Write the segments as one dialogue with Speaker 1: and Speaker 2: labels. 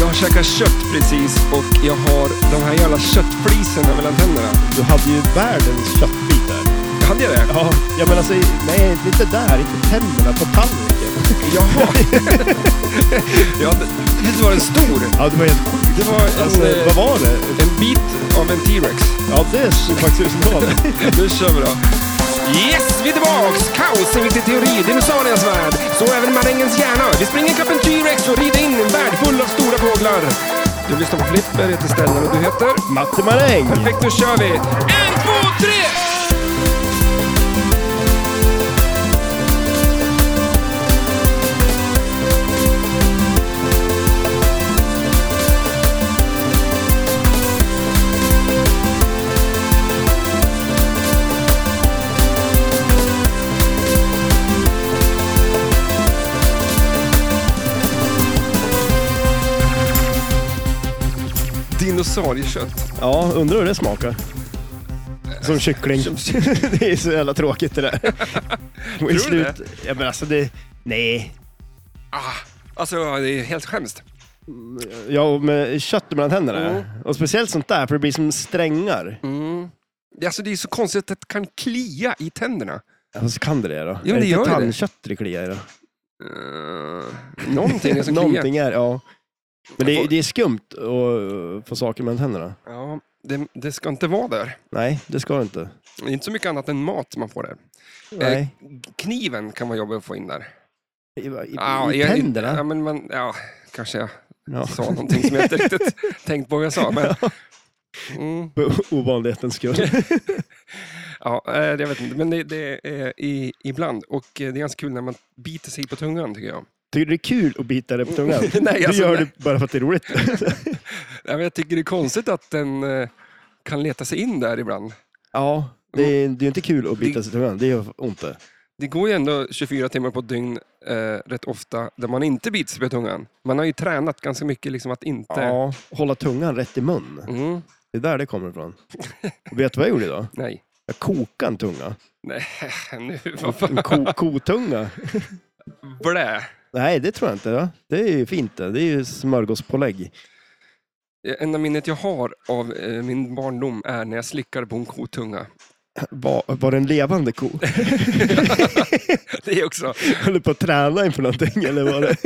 Speaker 1: Jag käkar kött precis och jag har de här jävla köttflisorna mellan tänderna.
Speaker 2: Du hade ju världens köttbit där.
Speaker 1: Hade jag det?
Speaker 2: Ja, ja men alltså, nej, inte där, inte tänderna, på tallriken.
Speaker 1: Jaha. ja, det- visst var den stor?
Speaker 2: Ja, det var helt sjukt.
Speaker 1: Det var en,
Speaker 2: Alltså,
Speaker 1: eh,
Speaker 2: vad var det?
Speaker 1: en bit av en T-Rex.
Speaker 2: Ja, det såg faktiskt ut som det.
Speaker 1: Nu kör vi då. Yes, vi är tillbaks! Kaos, en viktig teori, dinosauriens värld. Så även marängens hjärna. Vi springer ikapp en T-Rex och rider in i en värld full av stora fåglar. Du lyssnar på Flipper, jag heter Stellan och du heter?
Speaker 2: Matte Maräng!
Speaker 1: Perfekt, då kör vi! En, två, tre! Dinosauriekött.
Speaker 2: Ja, undrar hur det smakar. Som kyckling. det är så jävla tråkigt det där. Tror
Speaker 1: du
Speaker 2: Ja, men alltså det... Nej.
Speaker 1: Ah, alltså, det är helt skämst.
Speaker 2: Ja, och med kött mellan tänderna.
Speaker 1: Mm.
Speaker 2: Och speciellt sånt där, för det blir som strängar.
Speaker 1: Det- Alltså, det är så konstigt att det kan klia i tänderna.
Speaker 2: Ja, så kan det det då?
Speaker 1: men
Speaker 2: är
Speaker 1: det gör ju
Speaker 2: inte
Speaker 1: det.
Speaker 2: tandkött det kliar i då?
Speaker 1: Uh, någonting är som kliar.
Speaker 2: Någonting är, ja. Men det,
Speaker 1: Jag
Speaker 2: är-
Speaker 1: får-
Speaker 2: det är skumt att få saker mellan tänderna.
Speaker 1: Ja, det, det ska inte vara där.
Speaker 2: Nej, det ska det inte.
Speaker 1: Det är inte så mycket annat än mat man får där.
Speaker 2: Nej.
Speaker 1: Kniven kan vara jobbig att få in där.
Speaker 2: I, i,
Speaker 1: Ja,
Speaker 2: i
Speaker 1: jag- Ja,
Speaker 2: tänderna?
Speaker 1: men man, ja, kanske jag
Speaker 2: Ja.
Speaker 1: sa någonting som jag inte riktigt tänkt på vad jag sa. Men, mm,
Speaker 2: För ovanlighetens skull.
Speaker 1: ja, eh, jag vet inte, men det, det är i, ibland. Och eh, det är ganska kul när man biter sig på tungan, tycker jag.
Speaker 2: Tycker du det är kul att bita dig på tungan?
Speaker 1: Nej,
Speaker 2: du
Speaker 1: alltså,
Speaker 2: gör
Speaker 1: nej.
Speaker 2: det bara för att det är roligt.
Speaker 1: Nej, men jag tycker det är konstigt att den eh, kan leta sig in där ibland.
Speaker 2: ja, det är,
Speaker 1: Mm.
Speaker 2: det är inte kul att bita sig i tungan. Det gör ont det.
Speaker 1: Det går ju ändå 24 timmar på ett dygn eh, rätt ofta där man inte biter sig på tungan. Man har ju tränat ganska mycket liksom att inte...
Speaker 2: Ja, hålla tungan rätt i mun.
Speaker 1: Mm,
Speaker 2: Det är där det kommer ifrån. Och vet du vad jag gjorde idag?
Speaker 1: nej.
Speaker 2: Jag kokade en tunga.
Speaker 1: Nej, nu vad fan.
Speaker 2: En ko, kotunga.
Speaker 1: Blä.
Speaker 2: Nej, det tror jag inte. Ja. Det är ju fint det. Det är ju smörgåspålägg.
Speaker 1: Enda minnet jag har av eh, min barndom är när jag slickade på en kotunga.
Speaker 2: Var, var det en levande ko?
Speaker 1: Det är också
Speaker 2: Höll du på att träna inför någonting? Eller var det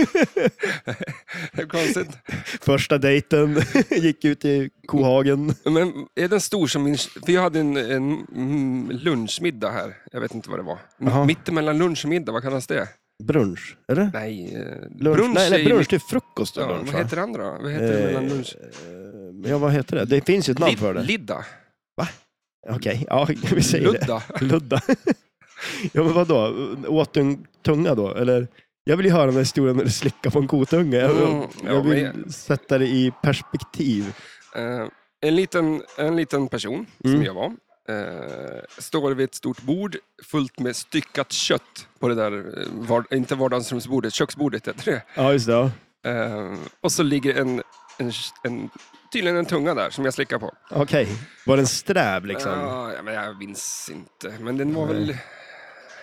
Speaker 1: konstigt.
Speaker 2: första dejten? Gick ut i kohagen?
Speaker 1: Men är den stor som min... För jag hade en, en mm, lunchmiddag här. Jag vet inte vad det var.
Speaker 2: Jaha.
Speaker 1: Mittemellan lunch och middag, vad kallas det?
Speaker 2: Brunch, eller?
Speaker 1: Nej, eh,
Speaker 2: Lunch?
Speaker 1: brunch
Speaker 2: nej, nej,
Speaker 1: är ju-
Speaker 2: brunch det är frukost. och
Speaker 1: Ja,
Speaker 2: lunch,
Speaker 1: vad
Speaker 2: va?
Speaker 1: heter det andra då? Vad heter det mellan
Speaker 2: Eh,
Speaker 1: lunch?
Speaker 2: eh, Ja, vad heter det? Det finns ju ett namn
Speaker 1: Lid-
Speaker 2: för det.
Speaker 1: Lidda.
Speaker 2: Okej, ja, vi säger
Speaker 1: Ludda.
Speaker 2: det. Ludda. ja, men vadå? Åt du en tunga då? Eller? Jag vill ju höra den här historien när du slickar på en kotunga. Jag vill,
Speaker 1: Mm, ja,
Speaker 2: jag vill
Speaker 1: men-
Speaker 2: sätta det i perspektiv.
Speaker 1: Eh, en, liten, en liten person, som
Speaker 2: Mm.
Speaker 1: jag var, eh, står vid ett stort bord fullt med styckat kött på det där, eh, var, inte vardagsrumsbordet, köksbordet heter det.
Speaker 2: Ja, just det. Ja.
Speaker 1: Eh, och så ligger en, en, en, tydligen en tunga där som jag slickar på.
Speaker 2: Okej, var den sträv liksom?
Speaker 1: Eh, ja, men jag minns inte, men den var väl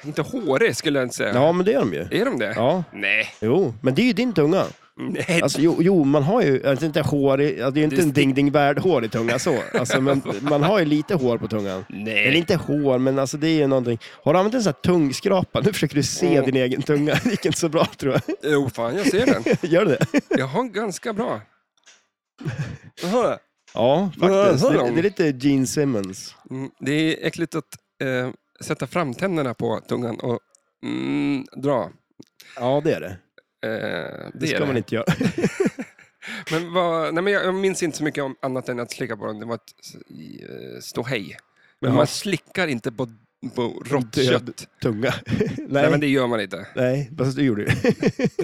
Speaker 1: inte hårig skulle jag inte säga.
Speaker 2: Ja, men det är de ju.
Speaker 1: Är de det?
Speaker 2: Ja,
Speaker 1: Nej.
Speaker 2: jo, men det är ju din tunga.
Speaker 1: Nej.
Speaker 2: Alltså, jo, jo, man har ju alltså, inte hår i, alltså, det är ju
Speaker 1: Det
Speaker 2: inte
Speaker 1: är
Speaker 2: en ding ding värd hår i tungan så. Alltså, men man har ju lite hår på tungan.
Speaker 1: Nej.
Speaker 2: Eller inte hår, men alltså det är ju någonting. Har du använt en sån här tungskrapa? Nu försöker du se
Speaker 1: Mm.
Speaker 2: din egen tunga. Det gick inte så bra tror jag.
Speaker 1: Jo, oh, fan jag ser den.
Speaker 2: Gör du det?
Speaker 1: Jag har ganska bra. Jaha.
Speaker 2: Ja, faktiskt.
Speaker 1: hör
Speaker 2: Det,
Speaker 1: de?
Speaker 2: det är lite Gene Simmons.
Speaker 1: Mm, det är äckligt att eh, sätta fram tänderna på tungan och mm, dra. Eh,
Speaker 2: Ja, det är det.
Speaker 1: det
Speaker 2: Det ska
Speaker 1: är det.
Speaker 2: man inte göra.
Speaker 1: Men, vad, nej, men jag, jag minns inte så mycket om annat än att slicka på den. Det var ett eh, ståhej. Men
Speaker 2: Ja.
Speaker 1: man slickar inte på, på rått
Speaker 2: Död.
Speaker 1: kött. Nej.
Speaker 2: Tunga. Nej,
Speaker 1: men det gör man inte.
Speaker 2: nej, fast du gjorde det.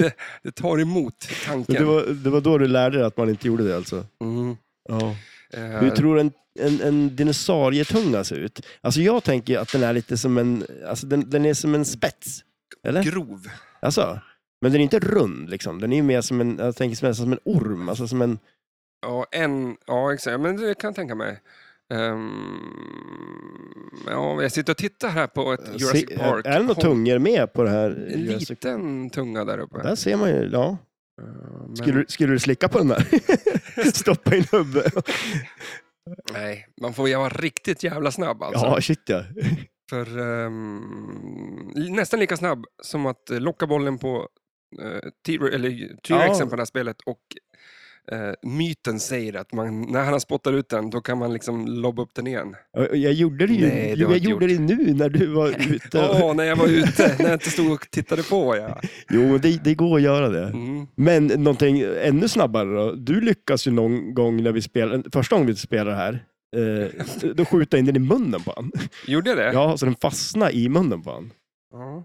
Speaker 1: Det tar emot tanken.
Speaker 2: Men det, var, det var då du lärde dig att man inte gjorde det alltså?
Speaker 1: Mm.
Speaker 2: Ja.
Speaker 1: Eh,
Speaker 2: Hur tror du en, en, en dinosaurietunga ser ut? Alltså jag tänker att den är lite som en, alltså den, den är som en spets. Eller?
Speaker 1: grov.
Speaker 2: Alltså, men den är inte rund liksom. Den är ju mer som en, jag tänker som, nästan som en orm. Alltså som en,
Speaker 1: Ja, en, ja, exakt. Men det kan jag tänka mig. Ehm, ja, jag sitter och tittar här på ett Jurassic
Speaker 2: Eh, Se-
Speaker 1: Park.
Speaker 2: Är det några
Speaker 1: Håll-
Speaker 2: tungor med på det här?
Speaker 1: En
Speaker 2: Jurassic-
Speaker 1: liten tunga där uppe.
Speaker 2: Där ser man ju, ja.
Speaker 1: Eh, men-
Speaker 2: Skulle, du- skulle du slicka på den där? Stoppa in hubben?
Speaker 1: Alltså. Nej, man får ju vara riktigt jävla snabb alltså.
Speaker 2: Ja, shit ja.
Speaker 1: För ehm, nästan lika snabb som att eh, locka bollen på eh, T- eller T-rexen
Speaker 2: Ja.
Speaker 1: på det här spelet och eh, myten säger att man, när han spottar ut den, då kan man liksom lobba upp den igen.
Speaker 2: Och- och Jag gjorde det ju
Speaker 1: Nej, det har
Speaker 2: jag
Speaker 1: inte
Speaker 2: gjorde det nu när du var ute.
Speaker 1: Åh, när jag var ute, när jag inte stod och tittade på. Ja.
Speaker 2: Jo, men det, det går att göra det.
Speaker 1: Mm.
Speaker 2: Men någonting ännu snabbare då. Du lyckas ju någon gång när vi spelar, första gången vi spelade här, eh, då skjuta in den i munnen på han.
Speaker 1: Gjorde jag det?
Speaker 2: Ja, så den fastnade i munnen på han.
Speaker 1: Ja.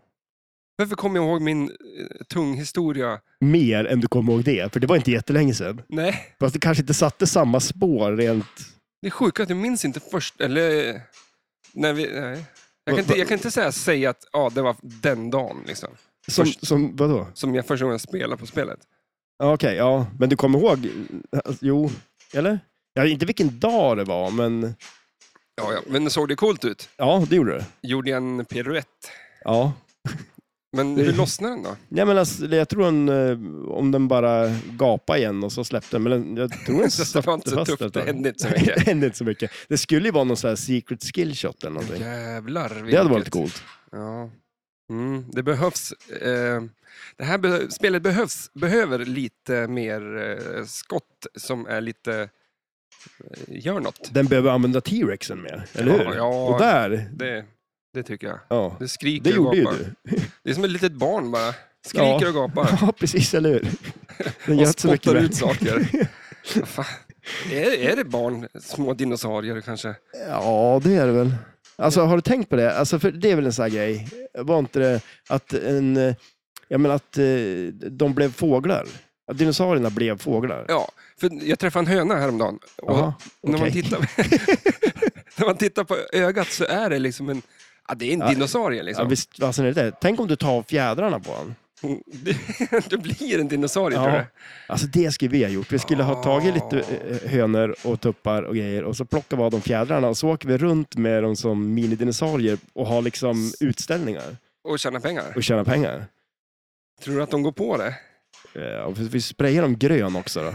Speaker 1: Varför kommer jag ihåg min eh, tunghistoria?
Speaker 2: Mer än du kommer ihåg det, för det var inte jättelänge sedan.
Speaker 1: Nej,
Speaker 2: Fast det kanske inte satte samma spår rent...
Speaker 1: det är sjukt att jag minns inte först, eller... eh, När vi, nej. Jag
Speaker 2: Va-
Speaker 1: kan, inte,
Speaker 2: va-
Speaker 1: jag kan inte säga, säga att ja, det var den dagen liksom,
Speaker 2: Som,
Speaker 1: Först-
Speaker 2: som vadå?
Speaker 1: som jag första gången jag spelade på spelet.
Speaker 2: Ja, Okej, ja. Men du kommer ihåg? Alltså, jo, eller? Ja, inte vilken dag det var, men
Speaker 1: Ja, ja. Men såg det coolt ut?
Speaker 2: ja, det gjorde det.
Speaker 1: Gjorde jag en piruett.
Speaker 2: Ja.
Speaker 1: Men hur lossnade den då?
Speaker 2: Nej, men alltså, jag tror den, eh, om den bara gapade igen och så släppte den. Men den- jag tror den
Speaker 1: Så det var inte så
Speaker 2: satte fast
Speaker 1: tufft,
Speaker 2: ett
Speaker 1: det
Speaker 2: tag.
Speaker 1: hände inte så mycket.
Speaker 2: Det hände inte så mycket. Det skulle ju vara någon sån här secret skill shot eller någonting.
Speaker 1: Jävlar vilket.
Speaker 2: Det hade varit coolt.
Speaker 1: Ja. Mm, det behövs. Eh, det här be- spelet behövs, behöver lite mer eh, skott som är lite... Eh, gör något.
Speaker 2: Den behöver använda T-rexen mer, eller
Speaker 1: Ja,
Speaker 2: hur?
Speaker 1: ja.
Speaker 2: Och där,
Speaker 1: Det, det tycker jag.
Speaker 2: ja.
Speaker 1: Det skriker
Speaker 2: Det gjorde
Speaker 1: och
Speaker 2: ju
Speaker 1: gapar.
Speaker 2: du.
Speaker 1: Det är som ett litet barn bara. Skriker
Speaker 2: Ja.
Speaker 1: och gapar.
Speaker 2: Ja, precis, eller hur? Den
Speaker 1: Och
Speaker 2: gör inte så mycket
Speaker 1: spottar ut
Speaker 2: mer.
Speaker 1: saker. Fan. Är, är det barn? Små dinosaurier kanske?
Speaker 2: Ja, det är det väl. Alltså, har du tänkt på det? Alltså, för det är väl en sån här grej. Var inte det att en... eh, Jag menar att eh, de blev fåglar. Att dinosaurierna blev fåglar.
Speaker 1: Ja, för jag träffade en höna häromdagen. Och
Speaker 2: Jaha,
Speaker 1: när, man
Speaker 2: okej.
Speaker 1: tittar, när man tittar på ögat så är det liksom en... Ja, det är en
Speaker 2: Ja,
Speaker 1: dinosaurie
Speaker 2: Ja,
Speaker 1: liksom.
Speaker 2: visst, alltså, är det det? Tänk om du tar av fjädrarna på honom.
Speaker 1: Det- du blir en dinosaurie
Speaker 2: Ja.
Speaker 1: tror jag.
Speaker 2: Alltså det skulle vi ha gjort. Vi skulle ha
Speaker 1: Ah.
Speaker 2: tagit lite eh, hönor och tuppar och grejer och så plockar vi av dem fjädrarna och så åker vi runt med dem som minidinosaurier och har liksom utställningar
Speaker 1: Och tjäna pengar.
Speaker 2: och tjänar pengar.
Speaker 1: Tror du att de går på det?
Speaker 2: Eh, och vi sprayar dem grön också då.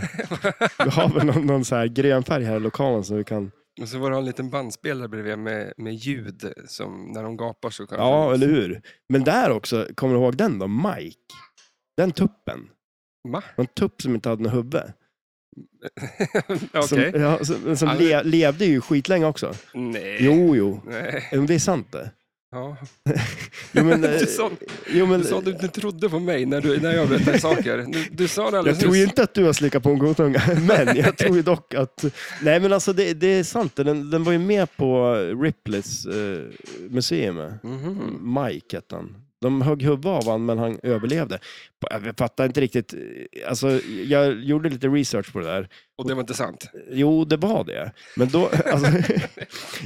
Speaker 2: Vi har väl någon, någon så här grön färg här i lokalen så vi kan...
Speaker 1: Och så var det en liten bandspelare bredvid med, med ljud som när de gapar så kan
Speaker 2: Ja, eller hur? Men där också, kommer du ihåg den då? Mike? Den tuppen.
Speaker 1: Va?
Speaker 2: En tupp som inte hade något huvud.
Speaker 1: Okej.
Speaker 2: Som, ja, som, som
Speaker 1: Ja, Eh.
Speaker 2: le, levde ju skitlänge också.
Speaker 1: Nej.
Speaker 2: Jo, jo.
Speaker 1: Nej.
Speaker 2: Jo, men Det är sant det.
Speaker 1: Ja.
Speaker 2: Jo, men, eh,
Speaker 1: Du sa-
Speaker 2: jo, men,
Speaker 1: Du sa att du inte trodde på mig när, du, när jag berättade saker. Du, du sa det
Speaker 2: jag
Speaker 1: alldeles
Speaker 2: tror ju
Speaker 1: nyss.
Speaker 2: inte att du har slickat på en gotunga, men jag tror ju dock att... Nej, men alltså det, det är sant. Den, den var ju med på Ripleys eh, museum.
Speaker 1: Mhm.
Speaker 2: Mike hette han. De högg huvudet av honom, men han överlevde. Jag fattar inte riktigt. Alltså, jag gjorde lite research på det där.
Speaker 1: Och det var inte sant.
Speaker 2: Jo, det var det. Men då, alltså,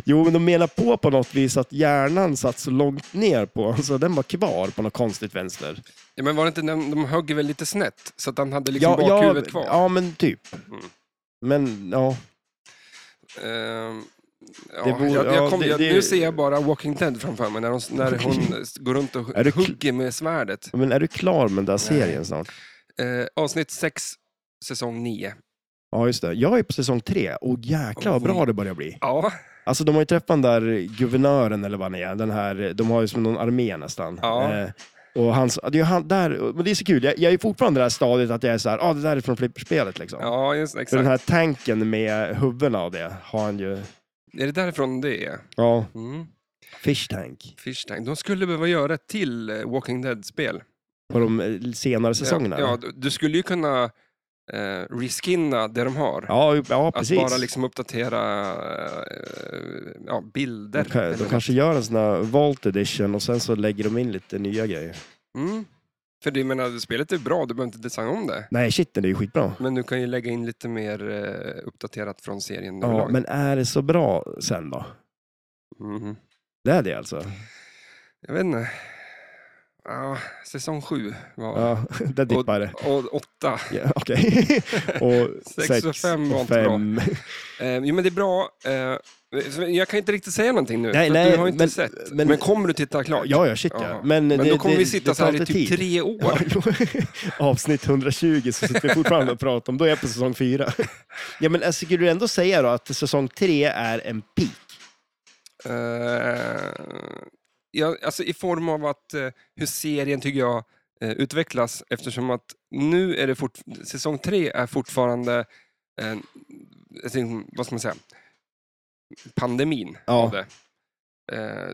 Speaker 2: jo, men de menar på på något vis att hjärnan satt så långt ner på honom, så den var kvar på något konstigt vänster.
Speaker 1: Ja, men var det inte den, de högg väl lite snett så att han hade liksom bakhuvudet kvar?
Speaker 2: ja, men typ.
Speaker 1: Mm.
Speaker 2: Men ja,
Speaker 1: Ehm, ja,
Speaker 2: Det vore-
Speaker 1: jag, jag
Speaker 2: ja,
Speaker 1: kom,
Speaker 2: det-
Speaker 1: jag,
Speaker 2: det-
Speaker 1: nu ser jag bara Walking Dead framför mig när, de, när hon går runt och
Speaker 2: Är du kl-
Speaker 1: hugger med svärdet.
Speaker 2: men är du klar med den där serien snart?
Speaker 1: Eh, avsnitt 6, säsong 9.
Speaker 2: Ja, just det. Jag är på säsong tre och jäklar vad bra det börjar bli.
Speaker 1: Ja,
Speaker 2: Alltså de har ju träffat den där guvernören eller vad han är. Den här, de har ju som någon armé nästan.
Speaker 1: Ja.
Speaker 2: Eh, och hans, det är ju han där, men det är så kul. Jag, jag är fortfarande i det här stadiet att jag är så här, ah, det där är från flipperspelet liksom.
Speaker 1: ja just,
Speaker 2: För
Speaker 1: exakt.
Speaker 2: den här tanken med huvudena och det har han ju.
Speaker 1: Är det därifrån det är?
Speaker 2: Ja,
Speaker 1: Mm.
Speaker 2: fish tank.
Speaker 1: Fish Tank. De skulle behöva göra ett till eh, Walking Dead-spel.
Speaker 2: På de eh, senare säsongerna.
Speaker 1: Ja, ja, du- du skulle ju kunna eh, reskinna det de har.
Speaker 2: ja, ja
Speaker 1: Att
Speaker 2: precis.
Speaker 1: bara liksom uppdatera eh, ja, bilder.
Speaker 2: De kan-
Speaker 1: eller
Speaker 2: de
Speaker 1: något.
Speaker 2: kanske gör en sån här Vault Edition och sen så lägger de in lite nya grejer.
Speaker 1: Mm. För du menar, spelet är bra, du behöver inte designa om det.
Speaker 2: Nej, shit, det är ju skitbra.
Speaker 1: Men du kan ju lägga in lite mer eh, uppdaterat från serien.
Speaker 2: Ja,
Speaker 1: överlag.
Speaker 2: men är det så bra sen då?
Speaker 1: Mhm.
Speaker 2: Det är det alltså?
Speaker 1: Jag vet inte. Ja, säsong sju var...
Speaker 2: Ja, där dippar det.
Speaker 1: Och åtta.
Speaker 2: Ja, Okej. och
Speaker 1: Sex och fem var inte
Speaker 2: fem.
Speaker 1: Eh, jo, men det är bra. Eh, jag kan inte riktigt säga någonting nu,
Speaker 2: Nej,
Speaker 1: för att
Speaker 2: nej,
Speaker 1: du har inte
Speaker 2: men-
Speaker 1: sett. Men,
Speaker 2: men-
Speaker 1: kommer du titta klart?
Speaker 2: Ja, ja, shit
Speaker 1: Ja.
Speaker 2: ja. Men,
Speaker 1: Men
Speaker 2: det,
Speaker 1: då kommer
Speaker 2: det,
Speaker 1: vi sitta
Speaker 2: det
Speaker 1: så
Speaker 2: tar
Speaker 1: här i
Speaker 2: alltid
Speaker 1: typ
Speaker 2: tid.
Speaker 1: tre år.
Speaker 2: Ja, jo. Avsnitt 120 så sitter vi fortfarande och pratar om. Då är jag på säsong fyra. Ja, men alltså, skulle du ändå säga då att säsong tre är en peak?
Speaker 1: Eh, ja, alltså I form av att eh, hur serien tycker jag eh, utvecklas eftersom att nu är det fort, säsong tre är fortfarande eh, alltså, vad ska man säga, pandemin.
Speaker 2: Ja.
Speaker 1: av Det. Eh,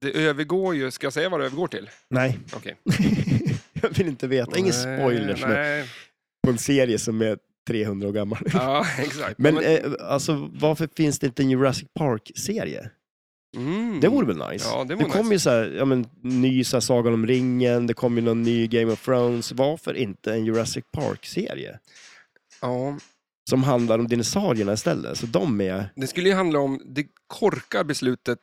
Speaker 1: det övergår ju, ska jag säga vad det övergår till?
Speaker 2: Nej.
Speaker 1: Okej.
Speaker 2: jag vill inte veta. Ingen
Speaker 1: Nej,
Speaker 2: spoilers nu.
Speaker 1: Nej,
Speaker 2: på en serie som är 300 år gammal.
Speaker 1: ja, exakt.
Speaker 2: Men eh, alltså, varför finns det inte en Jurassic Park-serie?
Speaker 1: mm.
Speaker 2: eh, Det vore väl nice?
Speaker 1: Ja, det
Speaker 2: Det
Speaker 1: vore
Speaker 2: kom
Speaker 1: nice.
Speaker 2: ju så här, ja, men, ny så här, Sagan om ringen, det kom ju någon ny Game of Thrones. Varför inte en Jurassic Park-serie?
Speaker 1: Ja,
Speaker 2: Som handlar om dinosaurierna istället. Så de är...
Speaker 1: det skulle ju handla om det korkar beslutet,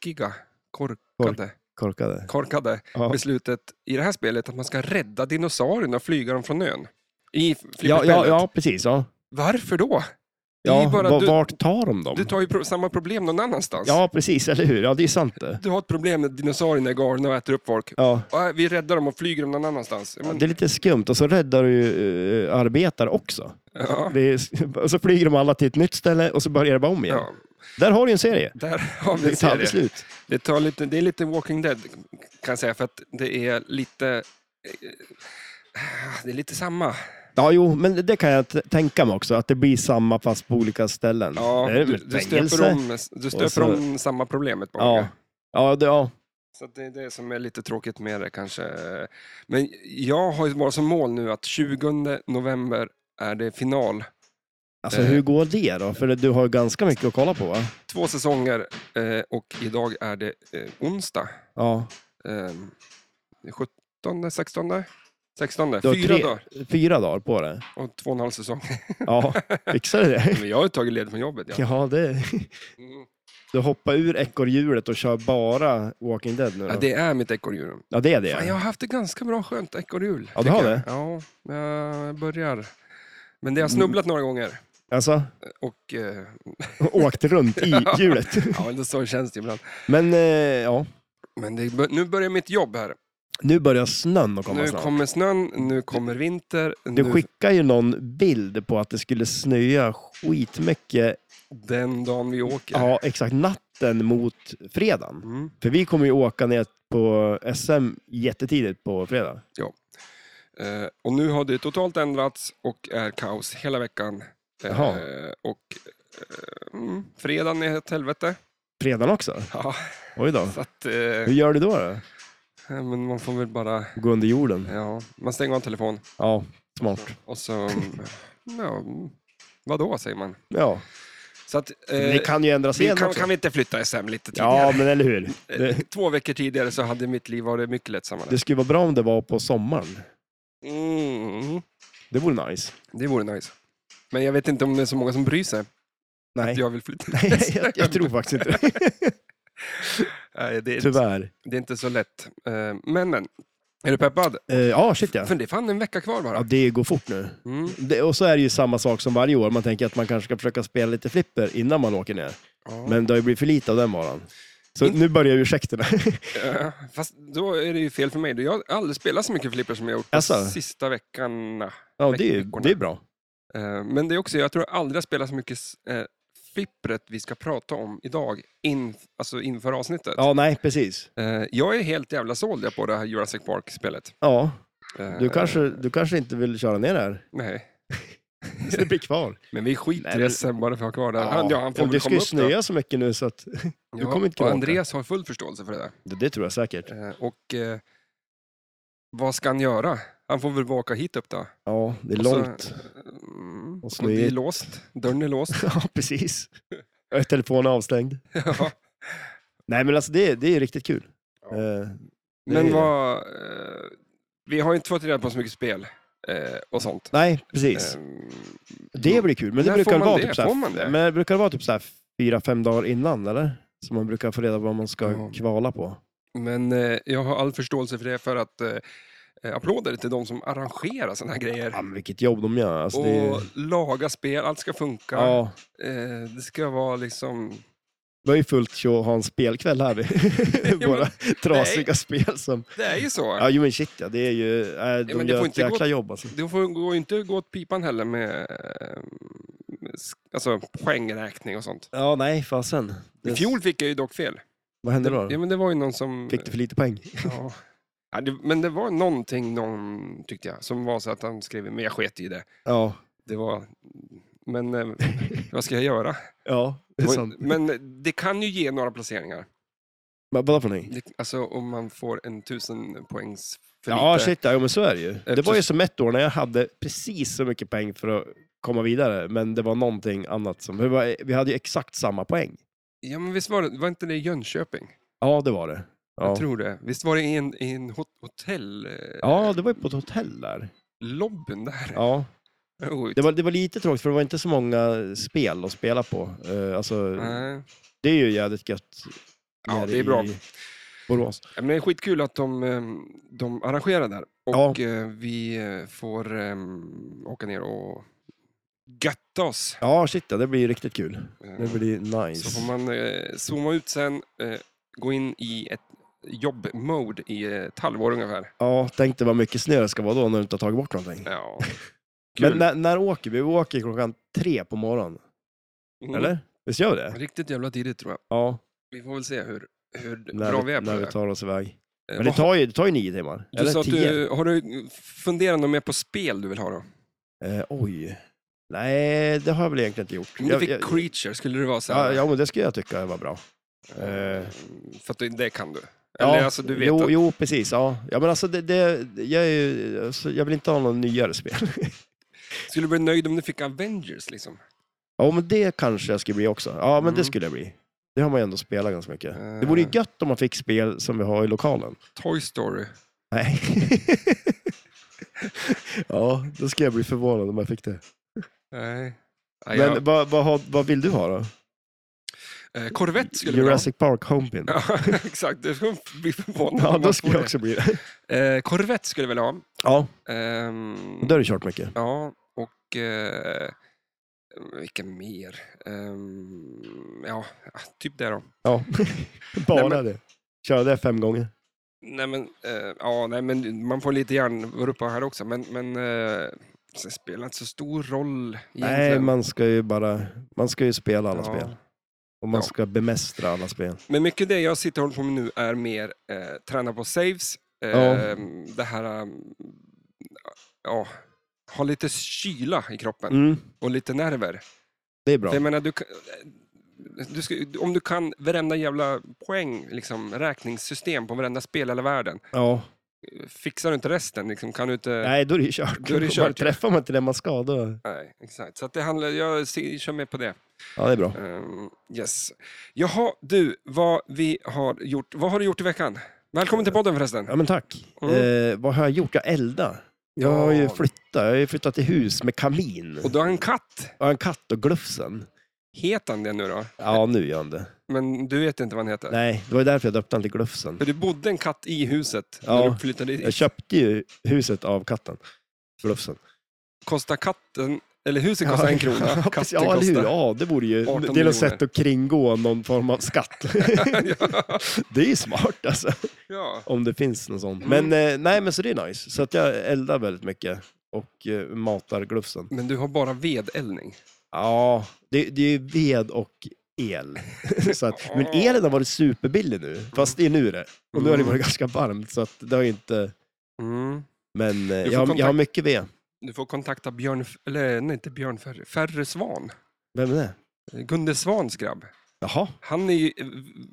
Speaker 1: korkiga, korkade,
Speaker 2: korkade.
Speaker 1: korkade
Speaker 2: Ja.
Speaker 1: beslutet i det här spelet att man ska rädda dinosaurierna och flyga dem från ön. I
Speaker 2: Ja,
Speaker 1: flipperspelet.
Speaker 2: ja, ja, precis. Ja.
Speaker 1: Varför då? Det är
Speaker 2: Ja,
Speaker 1: ju bara-
Speaker 2: va-
Speaker 1: du-
Speaker 2: Vart tar de dem?
Speaker 1: Du tar ju pro- samma problem någon annanstans.
Speaker 2: Ja, precis. Eller hur? Ja, det är sant det.
Speaker 1: Du har ett problem med dinosaurierna är galna och äter upp folk.
Speaker 2: Ja.
Speaker 1: Ja, Vi räddar dem och flyger dem någon annanstans.
Speaker 2: Ja,
Speaker 1: Men,
Speaker 2: Det är lite skumt. Och så räddar du ju eh, arbetare också.
Speaker 1: ja,
Speaker 2: Det är, och så flyger de alla till ett nytt ställe och så börjar det bara om igen.
Speaker 1: ja,
Speaker 2: Där har du en serie.
Speaker 1: där har vi
Speaker 2: Det tar aldrig
Speaker 1: serien.
Speaker 2: slut.
Speaker 1: Det, tar lite, det är lite Walking Dead kan jag säga för att det är lite... eh, Det är lite samma.
Speaker 2: Ja, jo, men det kan jag t- tänka mig också. Att det blir samma fast på olika ställen.
Speaker 1: Ja,
Speaker 2: det är
Speaker 1: du,
Speaker 2: ett
Speaker 1: du
Speaker 2: fängelse.
Speaker 1: stöper, om, du stöper
Speaker 2: Och så-
Speaker 1: om samma problemet på
Speaker 2: Ja,
Speaker 1: olika.
Speaker 2: ja, det, ja.
Speaker 1: Så att det är det som är lite tråkigt med det kanske. Men jag har ju bara som mål nu att 20 november är det final.
Speaker 2: Alltså,
Speaker 1: Eh.
Speaker 2: hur går det då? För du har ju ganska mycket att kolla på, va?
Speaker 1: Två säsonger eh, och idag är det eh, onsdag.
Speaker 2: Ja.
Speaker 1: Eh, 17, 16, 16,
Speaker 2: Du har
Speaker 1: fyra
Speaker 2: tre-
Speaker 1: dagar
Speaker 2: Fyra dagar på det.
Speaker 1: och två och en halv säsong.
Speaker 2: Ja, fixar du det?
Speaker 1: Men jag har ju tagit ledigt från jobbet. Ja.
Speaker 2: Ja, det...
Speaker 1: Mm.
Speaker 2: Du hoppar ur ekorrhjulet och kör bara Walking Dead nu
Speaker 1: Ja,
Speaker 2: då?
Speaker 1: det är mitt ekorrhjul.
Speaker 2: Ja, det är
Speaker 1: Fan,
Speaker 2: det.
Speaker 1: jag har haft det ganska bra skönt ekorrhjul.
Speaker 2: Ja, du har
Speaker 1: tycker
Speaker 2: det?
Speaker 1: jag. Ja, jag börjar. Men det har snubblat några gånger.
Speaker 2: Alltså,
Speaker 1: Och, eh,
Speaker 2: åkt runt i hjulet.
Speaker 1: ja, men så känns det ibland.
Speaker 2: Men eh, ja,
Speaker 1: Men det, bör- nu börjar mitt jobb här.
Speaker 2: nu börjar snön att komma
Speaker 1: Nu
Speaker 2: snart.
Speaker 1: kommer snön, nu kommer vinter.
Speaker 2: Du
Speaker 1: nu,
Speaker 2: skickar ju någon bild på att det skulle snöa skitmycket
Speaker 1: den dagen vi åker.
Speaker 2: Ja, exakt. Natten mot fredagen.
Speaker 1: Mm.
Speaker 2: För vi kommer ju åka ner på SM jättetidigt på fredag.
Speaker 1: Eh, och nu har det totalt ändrats och är kaos hela veckan. Eh,
Speaker 2: Jaha.
Speaker 1: och eh, mm, fredagen är ett helvete.
Speaker 2: Fredagen också?
Speaker 1: Ja,
Speaker 2: Oj då.
Speaker 1: så att, eh,
Speaker 2: Hur gör du då? då?
Speaker 1: men man får väl bara,
Speaker 2: Gå under jorden?
Speaker 1: ja, man stänger av telefonen.
Speaker 2: Ja, smart.
Speaker 1: Och så, mm, ja, vadå säger man?
Speaker 2: Ja.
Speaker 1: Så att, eh,
Speaker 2: Det kan ju ändras
Speaker 1: vi
Speaker 2: igen
Speaker 1: kan,
Speaker 2: också.
Speaker 1: kan vi inte flytta SM lite tidigare?
Speaker 2: Ja, men eller hur. Det,
Speaker 1: Två veckor tidigare så hade mitt liv varit mycket lättsammare.
Speaker 2: det skulle vara bra om det var på sommaren.
Speaker 1: Mm,
Speaker 2: Det vore nice.
Speaker 1: det vore nice. Men jag vet inte om det är så många som bryr sig.
Speaker 2: Nej,
Speaker 1: Jag vill flytta
Speaker 2: Nej jag, jag tror faktiskt inte det.
Speaker 1: Nej, det. Är,
Speaker 2: Tyvärr.
Speaker 1: det är inte så lätt. Eh, Men, men. Är du peppad?
Speaker 2: Eh, Ja, shit ja.
Speaker 1: För det är fan en vecka kvar
Speaker 2: ja.
Speaker 1: bara.
Speaker 2: Det går fort nu.
Speaker 1: Mm.
Speaker 2: Det, och så är det ju samma sak som varje år. Man tänker att man kanske ska försöka spela lite flipper innan man åker ner.
Speaker 1: Ja.
Speaker 2: Men det har ju blivit för lite av den varan. Så nu börjar ursäkterna.
Speaker 1: Eh, Fast då är det ju fel för mig. Jag har aldrig spelat så mycket flipper som jag gjort de
Speaker 2: Alltså?
Speaker 1: sista veckorna.
Speaker 2: ja, det är, ju- det är bra.
Speaker 1: Eh, Men det är också, jag tror jag aldrig jag spelat så mycket eh, flippret vi ska prata om idag, in, alltså inför avsnittet.
Speaker 2: Ja, nej, precis.
Speaker 1: Eh, Jag är helt jävla såld jag på det här Jurassic Park-spelet.
Speaker 2: Ja,
Speaker 1: Eh,
Speaker 2: du kanske, du kanske inte vill köra ner det här.
Speaker 1: Nej,
Speaker 2: Så det blir kvar.
Speaker 1: men vi skiter
Speaker 2: Nej,
Speaker 1: i
Speaker 2: men-
Speaker 1: det sen bara för att ha kvar det här. Han, ja, han får väl
Speaker 2: det ska
Speaker 1: komma
Speaker 2: ju
Speaker 1: upp då.
Speaker 2: snöa så mycket nu så att... Du
Speaker 1: Ja,
Speaker 2: kommer inte
Speaker 1: och
Speaker 2: kunna åka.
Speaker 1: Andreas har full förståelse för det där.
Speaker 2: Det, det tror jag säkert.
Speaker 1: Eh, Och eh, vad ska han göra? Han får väl bara åka hit upp då.
Speaker 2: Ja, det är
Speaker 1: Och så-
Speaker 2: långt.
Speaker 1: Mm,
Speaker 2: Och
Speaker 1: och det är
Speaker 2: snöigt.
Speaker 1: låst. Dörren är låst.
Speaker 2: Ja, precis. Och Telefonen är avstängd.
Speaker 1: ja.
Speaker 2: Nej, men alltså det, det är riktigt kul.
Speaker 1: Ja.
Speaker 2: Eh,
Speaker 1: Men
Speaker 2: Det-
Speaker 1: vad... Eh, vi har ju inte fått reda på så mycket spel eh, och sånt.
Speaker 2: nej, precis.
Speaker 1: Ehm,
Speaker 2: Det blir kul. Men det
Speaker 1: När
Speaker 2: brukar
Speaker 1: får
Speaker 2: väl
Speaker 1: man
Speaker 2: vara
Speaker 1: det?
Speaker 2: typ
Speaker 1: Får man det?
Speaker 2: såhär... Men det brukar vara typ såhär fyra, fem dagar innan, eller? Så man brukar få reda på vad man ska
Speaker 1: Ja.
Speaker 2: kvala på.
Speaker 1: Men eh, jag har all förståelse för det, för att eh, applåder till de som arrangerar sådana här grejer.
Speaker 2: Ja, men vilket jobb de gör. Alltså, det är...
Speaker 1: Och laga spel, allt ska funka.
Speaker 2: Ja,
Speaker 1: Eh, det ska vara liksom...
Speaker 2: det var ju fullt show att ha en spelkväll här.
Speaker 1: men-
Speaker 2: Våra trasiga spel som...
Speaker 1: Det är ju så.
Speaker 2: Ja, jo men shit ja, det är ju... Äh, de
Speaker 1: men det
Speaker 2: gör
Speaker 1: får
Speaker 2: ett
Speaker 1: inte gå-
Speaker 2: jäkla jobb alltså.
Speaker 1: Det får går ju inte gå åt pipan heller med eh, sk- alltså, poängräkning och sånt.
Speaker 2: Ja, nej, fasen.
Speaker 1: I
Speaker 2: Det-
Speaker 1: fjol fick jag ju dock fel.
Speaker 2: Vad hände då?
Speaker 1: Ja, men det var ju någon som...
Speaker 2: Fick du för lite poäng?
Speaker 1: Ja. Ja, det, men det var någonting, någon, tyckte jag, som var så att han skrev, men jag sket i det.
Speaker 2: Ja.
Speaker 1: Det var... Men eh, vad ska jag göra?
Speaker 2: Ja, det är sant.
Speaker 1: Men det kan ju ge några placeringar.
Speaker 2: Men Vadå för någonting?
Speaker 1: Det, alltså om man får en tusen poängs för
Speaker 2: Ja,
Speaker 1: lite.
Speaker 2: shit, ja, men så är det ju. Det var ju
Speaker 1: Eftersom-
Speaker 2: som ett år när jag hade precis så mycket poäng för att komma vidare, men det var någonting annat som... Vi, var, vi hade ju exakt samma poäng.
Speaker 1: Ja, men visst var det, var inte det i Jönköping?
Speaker 2: Ja, det var det. Ja,
Speaker 1: Jag tror det. Visst var det i en, i en hot- hotell... eh,
Speaker 2: ja det var ju på ett hotell där.
Speaker 1: lobbyn där.
Speaker 2: Ja.
Speaker 1: Jo,
Speaker 2: Det, var, det var lite tråkigt, för det var inte så många spel att spela på. Eh, alltså,
Speaker 1: Nej.
Speaker 2: det är ju jävligt gött.
Speaker 1: Ja,
Speaker 2: nere
Speaker 1: det är bra.
Speaker 2: i Borås.
Speaker 1: Ja, Men det är skitkul att de, ehm, de arrangerar där. Och eh, vi eh, får ehm, åka ner och götta oss.
Speaker 2: Ja, shit, ja, det blir ju riktigt kul.
Speaker 1: Eh,
Speaker 2: Det blir nice.
Speaker 1: Så får man eh, zooma ut sen, eh, gå in i ett jobb-mode i eh, ett halvår ungefär.
Speaker 2: Ja, tänk dig vad mycket snö det ska vara då när du inte har tagit bort någonting.
Speaker 1: Ja. Kul.
Speaker 2: Men när, när åker vi? Vi åker klockan tre på morgonen,
Speaker 1: Mm.
Speaker 2: eller? Visst gör vi det?
Speaker 1: Riktigt jävla tidigt tror jag.
Speaker 2: Ja,
Speaker 1: Vi får väl se hur, hur bra
Speaker 2: när,
Speaker 1: vi är
Speaker 2: vi,
Speaker 1: på
Speaker 2: när
Speaker 1: det.
Speaker 2: vi tar oss iväg.
Speaker 1: Eh,
Speaker 2: Men det
Speaker 1: vad-
Speaker 2: tar ju, det tar ju nio timmar.
Speaker 1: du sa
Speaker 2: eller
Speaker 1: att
Speaker 2: tio.
Speaker 1: du, har du funderat något mer på spel du vill ha då?
Speaker 2: Eh, oj. Nej, det har jag väl egentligen inte gjort.
Speaker 1: Om du
Speaker 2: Jag,
Speaker 1: fick
Speaker 2: jag,
Speaker 1: Creature, skulle det vara så
Speaker 2: ja,
Speaker 1: här?
Speaker 2: ja, men det skulle jag tycka var bra.
Speaker 1: Eh,
Speaker 2: Eh.
Speaker 1: För att det- det kan du. Eller alltså, du vet
Speaker 2: jo,
Speaker 1: att,
Speaker 2: jo, precis. Ja. ja, men alltså, det, det, jag, är ju, alltså, jag vill inte ha något nyare spel.
Speaker 1: Skulle du bli nöjd om du fick Avengers liksom?
Speaker 2: ja, men det kanske jag skulle bli också. Ja, men det
Speaker 1: Mm.
Speaker 2: skulle jag bli. Det har man ju ändå spelat ganska mycket. Det vore ju
Speaker 1: Eh,
Speaker 2: gött om man fick spel som vi har i lokalen.
Speaker 1: Toy Story.
Speaker 2: Nej. ja, då ska jag bli förvånad om jag fick det.
Speaker 1: Nej. Ah, Nej,
Speaker 2: Men vad, vad, har- vad vill du ha då?
Speaker 1: jag, eh, Corvette skulle du ha.
Speaker 2: Jurassic Park Homepin? Ja,
Speaker 1: Ja, exakt. Du skulle bli förvånad om
Speaker 2: då
Speaker 1: man
Speaker 2: skulle
Speaker 1: får
Speaker 2: jag också bli det.
Speaker 1: det. Eh, Corvette skulle jag vilja ha.
Speaker 2: Ja,
Speaker 1: Ehm,
Speaker 2: då har du kört mycket.
Speaker 1: Ja, och... Eh, vilka mer? Ehm, ja, typ det då.
Speaker 2: Ja. Bara
Speaker 1: Nej, men-
Speaker 2: det. Köra det fem gånger.
Speaker 1: Nej men, eh, ja, nej, men man får lite hjärnvurpa här också, men, men eh, det spelar inte så stor roll egentligen.
Speaker 2: Nej, man ska ju bara... Man ska ju spela alla
Speaker 1: Ja.
Speaker 2: spel. Och man
Speaker 1: Ja.
Speaker 2: ska bemästra alla spel.
Speaker 1: Men mycket av det jag sitter och håller på med nu är mer eh, träna på saves, eh,
Speaker 2: Ja.
Speaker 1: det här, eh, ja, ha lite kyla i kroppen
Speaker 2: Mm,
Speaker 1: och lite nerver.
Speaker 2: det är bra.
Speaker 1: För Jag menar, du, kan- du ska, om du kan varenda jävla poäng, liksom, räkningssystem på varenda spel i hela världen,
Speaker 2: Ja.
Speaker 1: fixar du inte resten, liksom, kan du inte...
Speaker 2: Nej, då är det ju kört.
Speaker 1: Då är det ju
Speaker 2: Bara
Speaker 1: kört, ja.
Speaker 2: Träffar man inte det man ska, då...
Speaker 1: Nej, exakt. Så att det handlar, jag ser- kör med på det.
Speaker 2: Ja, det är bra.
Speaker 1: Ehm, yes. Jaha, du, vad, vi har gjort, vad har du gjort i veckan? Välkommen till podden förresten.
Speaker 2: Ja, men tack.
Speaker 1: Mm.
Speaker 2: Eh, vad har jag gjort? Jag elda. Jag har ju
Speaker 1: Ja.
Speaker 2: flyttat. Jag har ju flyttat till hus med kamin.
Speaker 1: Och du har en katt.
Speaker 2: Jag har en katt och glufsen.
Speaker 1: Heter han det nu då?
Speaker 2: Ja, nu gör han det.
Speaker 1: Men du vet inte vad han heter?
Speaker 2: Nej, det var ju därför jag döpte han till glufsen.
Speaker 1: För det bodde en katt i huset när
Speaker 2: Ja.
Speaker 1: du flyttade
Speaker 2: Jag
Speaker 1: dit.
Speaker 2: köpte ju huset av katten. Glufsen. Alltså,
Speaker 1: Kostar katten, eller huset kostar en krona,
Speaker 2: Ja,
Speaker 1: katten
Speaker 2: precis. ja, eller hur?
Speaker 1: kostar...
Speaker 2: Ja, det vore ju...
Speaker 1: 18
Speaker 2: Det är
Speaker 1: miljoner.
Speaker 2: något sätt att kringgå någon form av skatt. det är ju smart alltså,
Speaker 1: ja.
Speaker 2: om det finns någon sån.
Speaker 1: Mm.
Speaker 2: Men eh, nej, men så det är nice. Så att jag eldar väldigt mycket och eh, matar glufsen.
Speaker 1: Men du har bara vedeldning.
Speaker 2: Ja, det, det är ju ved och el. så att, men elen har varit superbillig nu, fast det är nu det. Och nu har det varit ganska varmt, så att det har ju inte...
Speaker 1: Mm.
Speaker 2: Men eh,
Speaker 1: får
Speaker 2: jag, har- jag har
Speaker 1: kontakt-
Speaker 2: mycket ved.
Speaker 1: Du får kontakta Björn, F- eller nej inte Björn Ferry, Ferry Svan.
Speaker 2: Vem är det?
Speaker 1: Gunde Svans grabb.
Speaker 2: Jaha,
Speaker 1: Han är ju eh,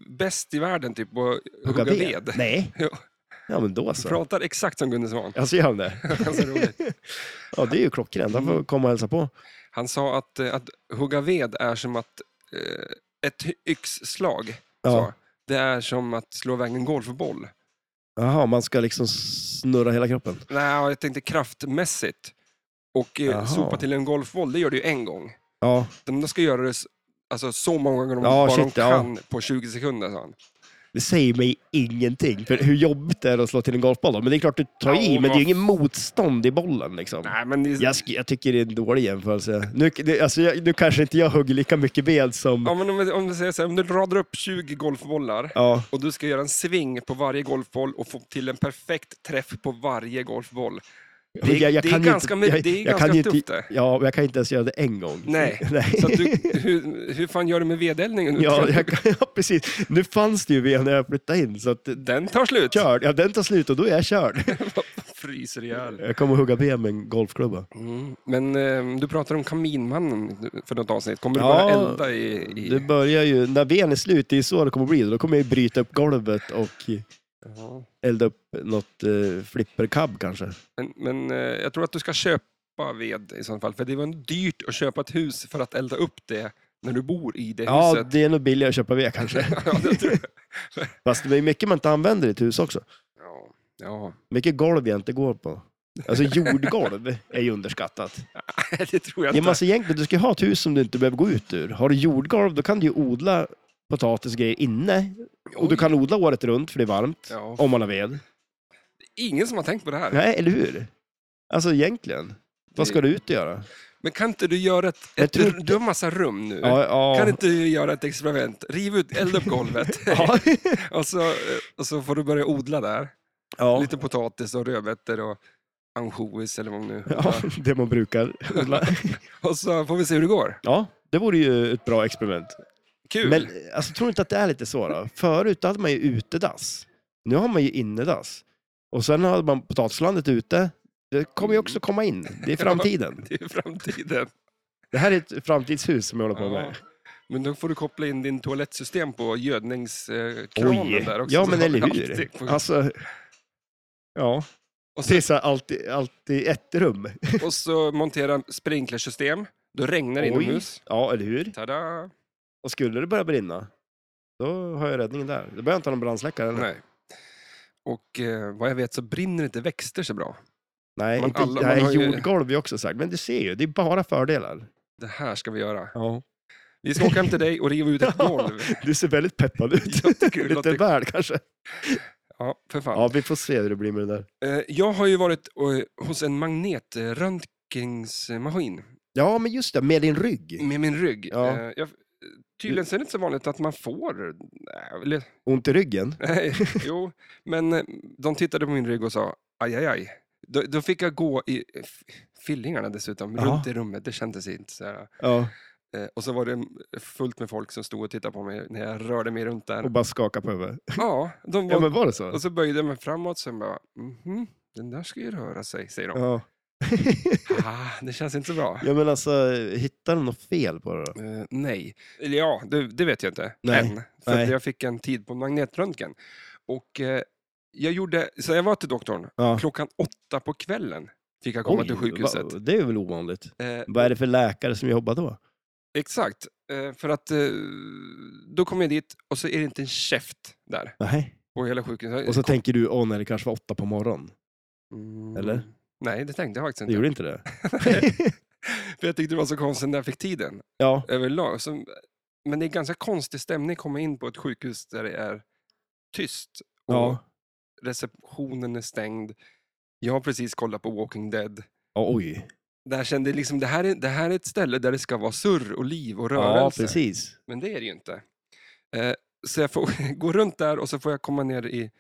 Speaker 1: bäst i världen typ på att hugga ved.
Speaker 2: Nej. alltså.
Speaker 1: Jo.
Speaker 2: Ja, men då
Speaker 1: Han
Speaker 2: så.
Speaker 1: Pratar exakt som Gunde Svan.
Speaker 2: Alltså gör han det?
Speaker 1: Alltså, roligt.
Speaker 2: Ja, det är ju klockrent. Han får komma och hälsa på.
Speaker 1: Han sa att, eh, att hugga ved är som att eh, ett yxslag,
Speaker 2: Ja.
Speaker 1: sa. det är som att slå iväg en golfboll.
Speaker 2: Jaha, man ska liksom snurra hela kroppen.
Speaker 1: Nej, jag tänkte kraftmässigt. Och eh,
Speaker 2: Jaha.
Speaker 1: sopa till en golfboll, det gör du ju en gång.
Speaker 2: Ja,
Speaker 1: De ska göra det s- alltså, så många gånger de
Speaker 2: Ja,
Speaker 1: bara
Speaker 2: shit,
Speaker 1: de
Speaker 2: ja.
Speaker 1: kan på 20 sekunder, sa han.
Speaker 2: Det säger mig ingenting, för hur jobbigt det är att slå till en golfboll. Då. Men det är klart du tar i, men det är ju ingen motstånd i bollen. Liksom.
Speaker 1: Nej, men det,
Speaker 2: Jag, sk- jag tycker det är en dålig jämförelse. Nu, det, alltså, jag, nu kanske inte jag hugger lika mycket ved
Speaker 1: ja,
Speaker 2: som...
Speaker 1: men om, om, du säger så här, om du radar upp 20 golfbollar
Speaker 2: Ja,
Speaker 1: och du ska göra en sving på varje golfboll och få till en perfekt träff på varje golfboll. Det,
Speaker 2: jag, jag
Speaker 1: det, är,
Speaker 2: kan ju
Speaker 1: ganska,
Speaker 2: inte-
Speaker 1: inte,
Speaker 2: jag-
Speaker 1: det är
Speaker 2: jag kan
Speaker 1: ganska
Speaker 2: ju
Speaker 1: tufft
Speaker 2: inte-
Speaker 1: det.
Speaker 2: Ja, men jag kan inte ens göra det en gång.
Speaker 1: Nej.
Speaker 2: Nej.
Speaker 1: Så att du, hur, hur fan gör du med vedeldningen? nu, tror
Speaker 2: Ja,
Speaker 1: du?
Speaker 2: jag, kan- ja, precis. Nu fanns det ju ved när jag flyttade in, så att,
Speaker 1: Den tar slut.
Speaker 2: körd. Ja, den tar slut och då är jag körd.
Speaker 1: Fryser ihjäl.
Speaker 2: Jag kommer att hugga ved med en golfklubba.
Speaker 1: Mm. Men eh, du pratade om Kaminmannen för något avsnitt. Kommer du
Speaker 2: Ja,
Speaker 1: börja elda i... i...
Speaker 2: Det börjar ju, när veden är slut, det är ju så det kommer att bli. Då kommer jag ju bryta upp golvet och
Speaker 1: Ja.
Speaker 2: elda upp något eh, flipperkab kanske.
Speaker 1: Men, men eh, jag tror att du ska köpa ved i så fall. För det var dyrt att köpa ett hus för att elda upp det när du bor i det
Speaker 2: Ja,
Speaker 1: huset.
Speaker 2: det är nog billigare att köpa ved kanske.
Speaker 1: Ja, det tror jag.
Speaker 2: Fast det är mycket man inte använder i ett hus också.
Speaker 1: Ja. ja,
Speaker 2: Mycket golv jag inte går på. Alltså jordgolv är ju underskattat.
Speaker 1: det tror jag
Speaker 2: Ja, men
Speaker 1: inte.
Speaker 2: alltså, egentligen, du ska ju ha ett hus som du inte behöver gå ut ur. Har du jordgolv, då kan du ju odla potatis och grejer inne. Och du
Speaker 1: Oj.
Speaker 2: kan odla året runt, för det är varmt.
Speaker 1: Ja.
Speaker 2: Om man har ved.
Speaker 1: Ingen som har tänkt på det här.
Speaker 2: Nej, eller hur? Alltså egentligen. Vad ska du ut och göra?
Speaker 1: Men kan inte du göra ett...
Speaker 2: Jag
Speaker 1: ett
Speaker 2: tror
Speaker 1: du, du har massa rum nu.
Speaker 2: Ja, ja.
Speaker 1: Kan inte du göra ett experiment? Riv ut, elda upp golvet
Speaker 2: Ja.
Speaker 1: och, så, eh, och så får du börja odla där.
Speaker 2: ja.
Speaker 1: Lite potatis och rödbetor och ansjovis eller vad man nu
Speaker 2: ja, det man brukar odla.
Speaker 1: Och så får vi se hur det går.
Speaker 2: Ja, det vore ju ett bra experiment.
Speaker 1: Kul!
Speaker 2: Men alltså, tror du inte att det är lite så då? Förut då hade man ju utedass. Nu har man ju innedass. Och sen hade man potatislandet ute. Det kommer ju också komma in. Det är framtiden.
Speaker 1: Det är framtiden.
Speaker 2: Det här är ett framtidshus som jag håller på
Speaker 1: Ja.
Speaker 2: med.
Speaker 1: Men då får du koppla in din toalettsystem på
Speaker 2: Oj!
Speaker 1: gödningskranen där också.
Speaker 2: Ja,
Speaker 1: Så
Speaker 2: men
Speaker 1: har
Speaker 2: eller
Speaker 1: vi allting
Speaker 2: hur?
Speaker 1: på-
Speaker 2: Alltså, ja,
Speaker 1: och, så,
Speaker 2: det är så här alltid, alltid ett rum.
Speaker 1: och så montera sprinklersystem. Då regnar det
Speaker 2: Oj.
Speaker 1: inomhus.
Speaker 2: Ja, eller hur?
Speaker 1: Tada!
Speaker 2: Och skulle det börja brinna, då har jag räddningen där. Då behöver jag inte ha någon brandsläckare. eller?
Speaker 1: Nej. Och eh, vad jag vet så brinner inte växter så bra.
Speaker 2: Nej,
Speaker 1: Man-
Speaker 2: inte,
Speaker 1: alla- man har
Speaker 2: nej
Speaker 1: ju-
Speaker 2: jordgolv är också sagt. Men du ser ju, det är bara fördelar.
Speaker 1: Det här ska vi göra.
Speaker 2: Ja.
Speaker 1: Vi ska åka hem till dig och riva ut ett golv.
Speaker 2: Du ser väldigt peppad ut.
Speaker 1: Jag tycker det
Speaker 2: Lite
Speaker 1: låter...
Speaker 2: väl kanske.
Speaker 1: Ja, för fan.
Speaker 2: Ja, vi får se hur det blir med det där.
Speaker 1: Eh, Jag har ju varit eh, hos en magnetröntgensmaskin
Speaker 2: Ja, men just det, med din rygg.
Speaker 1: med min rygg.
Speaker 2: Ja.
Speaker 1: Eh, Jag, tydligen så är det inte så vanligt att man får... Nej, eller-
Speaker 2: Ont i ryggen?
Speaker 1: Nej, jo, men eh, de tittade på min rygg och sa aj, aj, aj. Då, då fick jag gå i eh, f- fillingarna dessutom,
Speaker 2: Ja.
Speaker 1: runt i rummet. Det kändes inte så här.
Speaker 2: Ja,
Speaker 1: Eh, Och så var det fullt med folk som stod och tittade på mig när jag rörde mig runt
Speaker 2: och
Speaker 1: där.
Speaker 2: bara skaka på huvudet.
Speaker 1: Ja, de var,
Speaker 2: Ja, men var det så?
Speaker 1: Och så böjde jag mig framåt, sen bara, mhm, den där ska ju röra sig, säger de.
Speaker 2: Ja.
Speaker 1: Ah, det känns inte så bra.
Speaker 2: Ja, men alltså, hittar de något fel på det då?
Speaker 1: Eh, nej. Eller ja, det, det vet jag inte.
Speaker 2: Nej.
Speaker 1: Än. För
Speaker 2: Nej.
Speaker 1: att jag fick en tid på magnetröntgen. Och eh, jag gjorde, så jag var till doktorn
Speaker 2: Ja.
Speaker 1: klockan åtta på kvällen. Fick jag komma till sjukhuset.
Speaker 2: va- det är väl ovanligt.
Speaker 1: Eh,
Speaker 2: Vad är det för läkare som jobbar då?
Speaker 1: exakt. Eh, för att eh, då kom jag dit och så är det inte en käft där
Speaker 2: Nej.
Speaker 1: på hela sjukhuset.
Speaker 2: Och så tänker du, åh nej, det kanske var åtta på morgonen.
Speaker 1: Mm,
Speaker 2: eller?
Speaker 1: Nej, det tänkte jag faktiskt
Speaker 2: Det
Speaker 1: inte.
Speaker 2: gjorde inte det?
Speaker 1: För jag tyckte det var så konstigt när jag fick tiden.
Speaker 2: ja.
Speaker 1: överlag. Så, men det är ganska konstig stämning att komma in på ett sjukhus där det är tyst och
Speaker 2: ja.
Speaker 1: receptionen är stängd. Jag har precis kollat på Walking Dead.
Speaker 2: Ja, oj.
Speaker 1: Där kände jag liksom, det här, är, det här är ett ställe där det ska vara surr och liv och
Speaker 2: Ja,
Speaker 1: rörelse.
Speaker 2: precis.
Speaker 1: men det är det ju inte. Eh, så jag får gå runt där och så får jag komma ner i,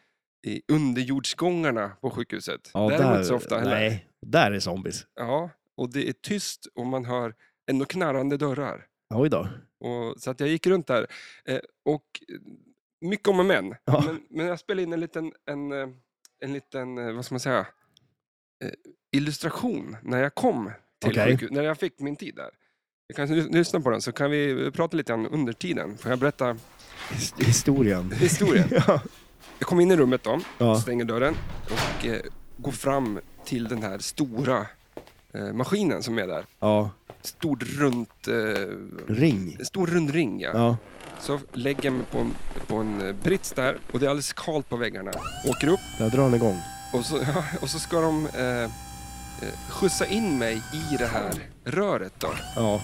Speaker 1: i underjordsgångarna på sjukhuset.
Speaker 2: Ja,
Speaker 1: där är det inte så ofta heller.
Speaker 2: Nej, där är zombies.
Speaker 1: Ja, och det är tyst och man hör ändå knarrande dörrar.
Speaker 2: Oj då.
Speaker 1: Och, så att jag gick runt där. Eh, och eh, mycket om och men.
Speaker 2: Ja.
Speaker 1: men. Men jag spelade in en liten, en, eh, en liten eh, vad ska man säga, eh, illustration när jag kom till
Speaker 2: Okej.
Speaker 1: sjukhus, när jag fick min tid där. Vi kan lys- lyssna på den så kan vi eh, prata lite grann under tiden. Får jag berätta
Speaker 2: His- Historien.
Speaker 1: historien?
Speaker 2: ja.
Speaker 1: Jag kom in i rummet då,
Speaker 2: Ja.
Speaker 1: stänger dörren och eh, går fram till den här stora eh, maskinen som är där.
Speaker 2: ja.
Speaker 1: Stor runt, eh,
Speaker 2: Ring.
Speaker 1: stor rund ring ja.
Speaker 2: Ja.
Speaker 1: Så lägger jag mig på en, på en eh, brits där och det är alldeles kallt på väggarna. Åker upp
Speaker 2: Där drar den igång.
Speaker 1: och så, och så ska de eh, eh, skjutsa in mig i det här röret då.
Speaker 2: Ja.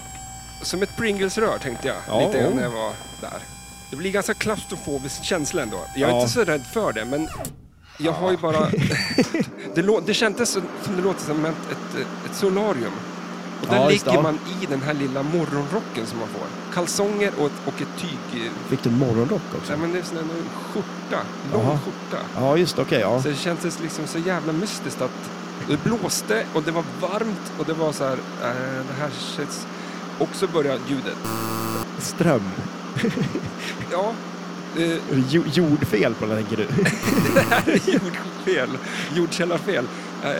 Speaker 1: Som ett Pringles-rör tänkte jag.
Speaker 2: Ja,
Speaker 1: lite grann
Speaker 2: oh.
Speaker 1: när jag var där. Det blir ganska klaustrofobisk känsla ändå. Jag är
Speaker 2: Ja.
Speaker 1: inte så rädd för det, men jag har ju bara... det, lå... det kändes som som det låter som ett, ett, ett solarium. Och där
Speaker 2: Ja, just det,
Speaker 1: ligger
Speaker 2: ja.
Speaker 1: man i den här lilla morgonrocken som man får. Kalsonger och ett, och ett tyg... eh,
Speaker 2: Fick du morgonrock också?
Speaker 1: Nej, men det är sån där en skjorta. Lång
Speaker 2: Jaha.
Speaker 1: skjorta.
Speaker 2: Ja, just det, okej. ja.
Speaker 1: Så det kändes liksom så jävla mystiskt att det blåste och det var varmt och det var så här, eh, det här känns... Och så började ljudet.
Speaker 2: Ström.
Speaker 1: Ja, eh,
Speaker 2: Jo, jordfel på den, tänker du?
Speaker 1: det här är jordfel, jordkällarfel. Eh,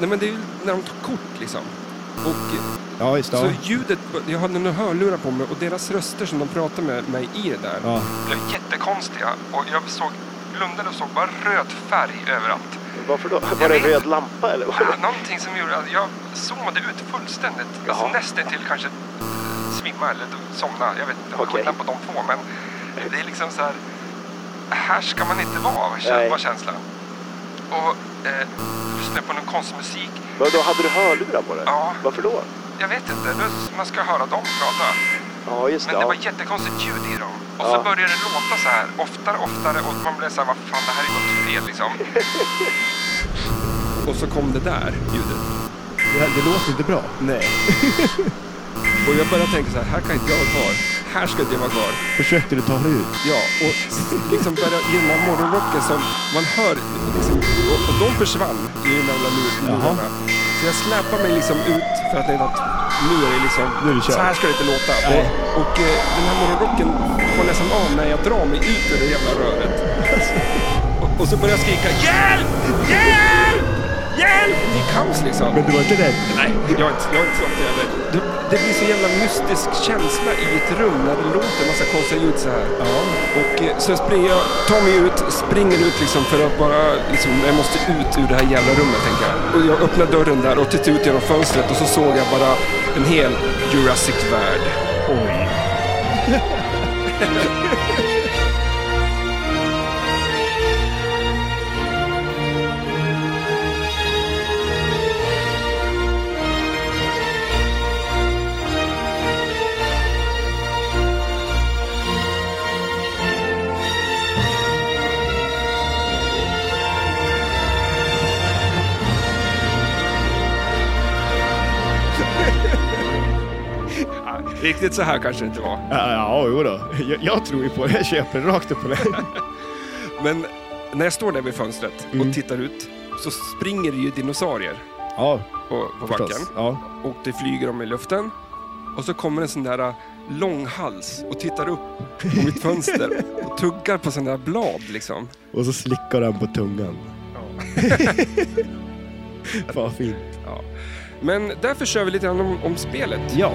Speaker 1: nej men det är ju när de tar kort liksom. Och eh,
Speaker 2: Ja, just det.
Speaker 1: så
Speaker 2: Ja.
Speaker 1: ljudet, jag hade några hörlurar på mig och deras röster som de pratade med mig i det där
Speaker 2: Ja.
Speaker 1: blev jättekonstiga. Och jag såg, blundade och såg bara röd färg överallt.
Speaker 3: Varför då? Var det en röd lampa eller? Vad?
Speaker 1: Ja, någonting som gjorde att jag zoomade ut fullständigt. Alltså,
Speaker 3: Jaha.
Speaker 1: nästan till kanske eh, svimma eller somna. Jag vet inte vad
Speaker 3: Okej.
Speaker 1: skillnad på de två, men det är liksom så här. Här ska man inte vara, kän-
Speaker 3: Nej.
Speaker 1: var känslan. Och eh, lyssna på någon konstig musik.
Speaker 3: Vadå, hade du hörlurar på dig?
Speaker 1: Ja.
Speaker 3: Varför då?
Speaker 1: Jag vet inte, då- man ska höra dem prata.
Speaker 3: Ja, just det.
Speaker 1: Men det
Speaker 3: ja.
Speaker 1: var jättekonstigt ljud i dem. Och
Speaker 3: Ja.
Speaker 1: så började det låta så här oftare och oftare och man blev så här, vad fan, det här är något fel liksom. och så kom det där ljudet.
Speaker 2: Det, det låter inte bra.
Speaker 1: Nej. och jag började tänka så här, här kan inte jag vara kvar. Här ska inte jag vara kvar.
Speaker 2: Försökte du ta dig ut?
Speaker 1: Ja, och s- liksom börja i den här morgonrocken som man hör, liksom, och, och de försvann i de jävla lur- lurarna. Så jag släpade mig liksom ut för att tänkte att nu är det liksom,
Speaker 2: Nu är det kört.
Speaker 1: så här ska det inte låta.
Speaker 2: Nej.
Speaker 1: Och, och eh, den här morgonrocken får nästan av när jag drar mig ut ur det jävla röret. Och, och så börjar jag skrika hjälp, hjälp, hjälp! I kaos liksom.
Speaker 2: Men du var inte rädd?
Speaker 1: Nej, jag är inte, jag är inte sånt heller. Det, det blir så jävla mystisk känsla i ett rum när det låter en massa konstiga ljud så här. Och eh, så springer jag, tar mig ut, springer ut liksom för att bara, liksom, jag måste ut ur det här jävla rummet tänker jag. Och jag öppnar dörren där och tittar ut genom fönstret och så såg jag bara en hel Jurassic-värld.
Speaker 2: Oj.
Speaker 1: Ja, Riktigt så här kanske det inte var.
Speaker 2: Ja, ja jo då. Jag, jag tror ju på det. Jag köper rakt upp på det.
Speaker 1: Men när jag står där vid fönstret och tittar ut så springer det ju dinosaurier
Speaker 2: Ja,
Speaker 1: på, på backen.
Speaker 2: förstås. Ja.
Speaker 1: och det flyger de i luften. Och så kommer en sån där äh, långhals och tittar upp på mitt fönster och tuggar på sån där blad liksom.
Speaker 2: Och så slickar han på tungan. Fan vad fint.
Speaker 1: Ja. Men därför kör vi lite grann om, om spelet.
Speaker 2: Ja.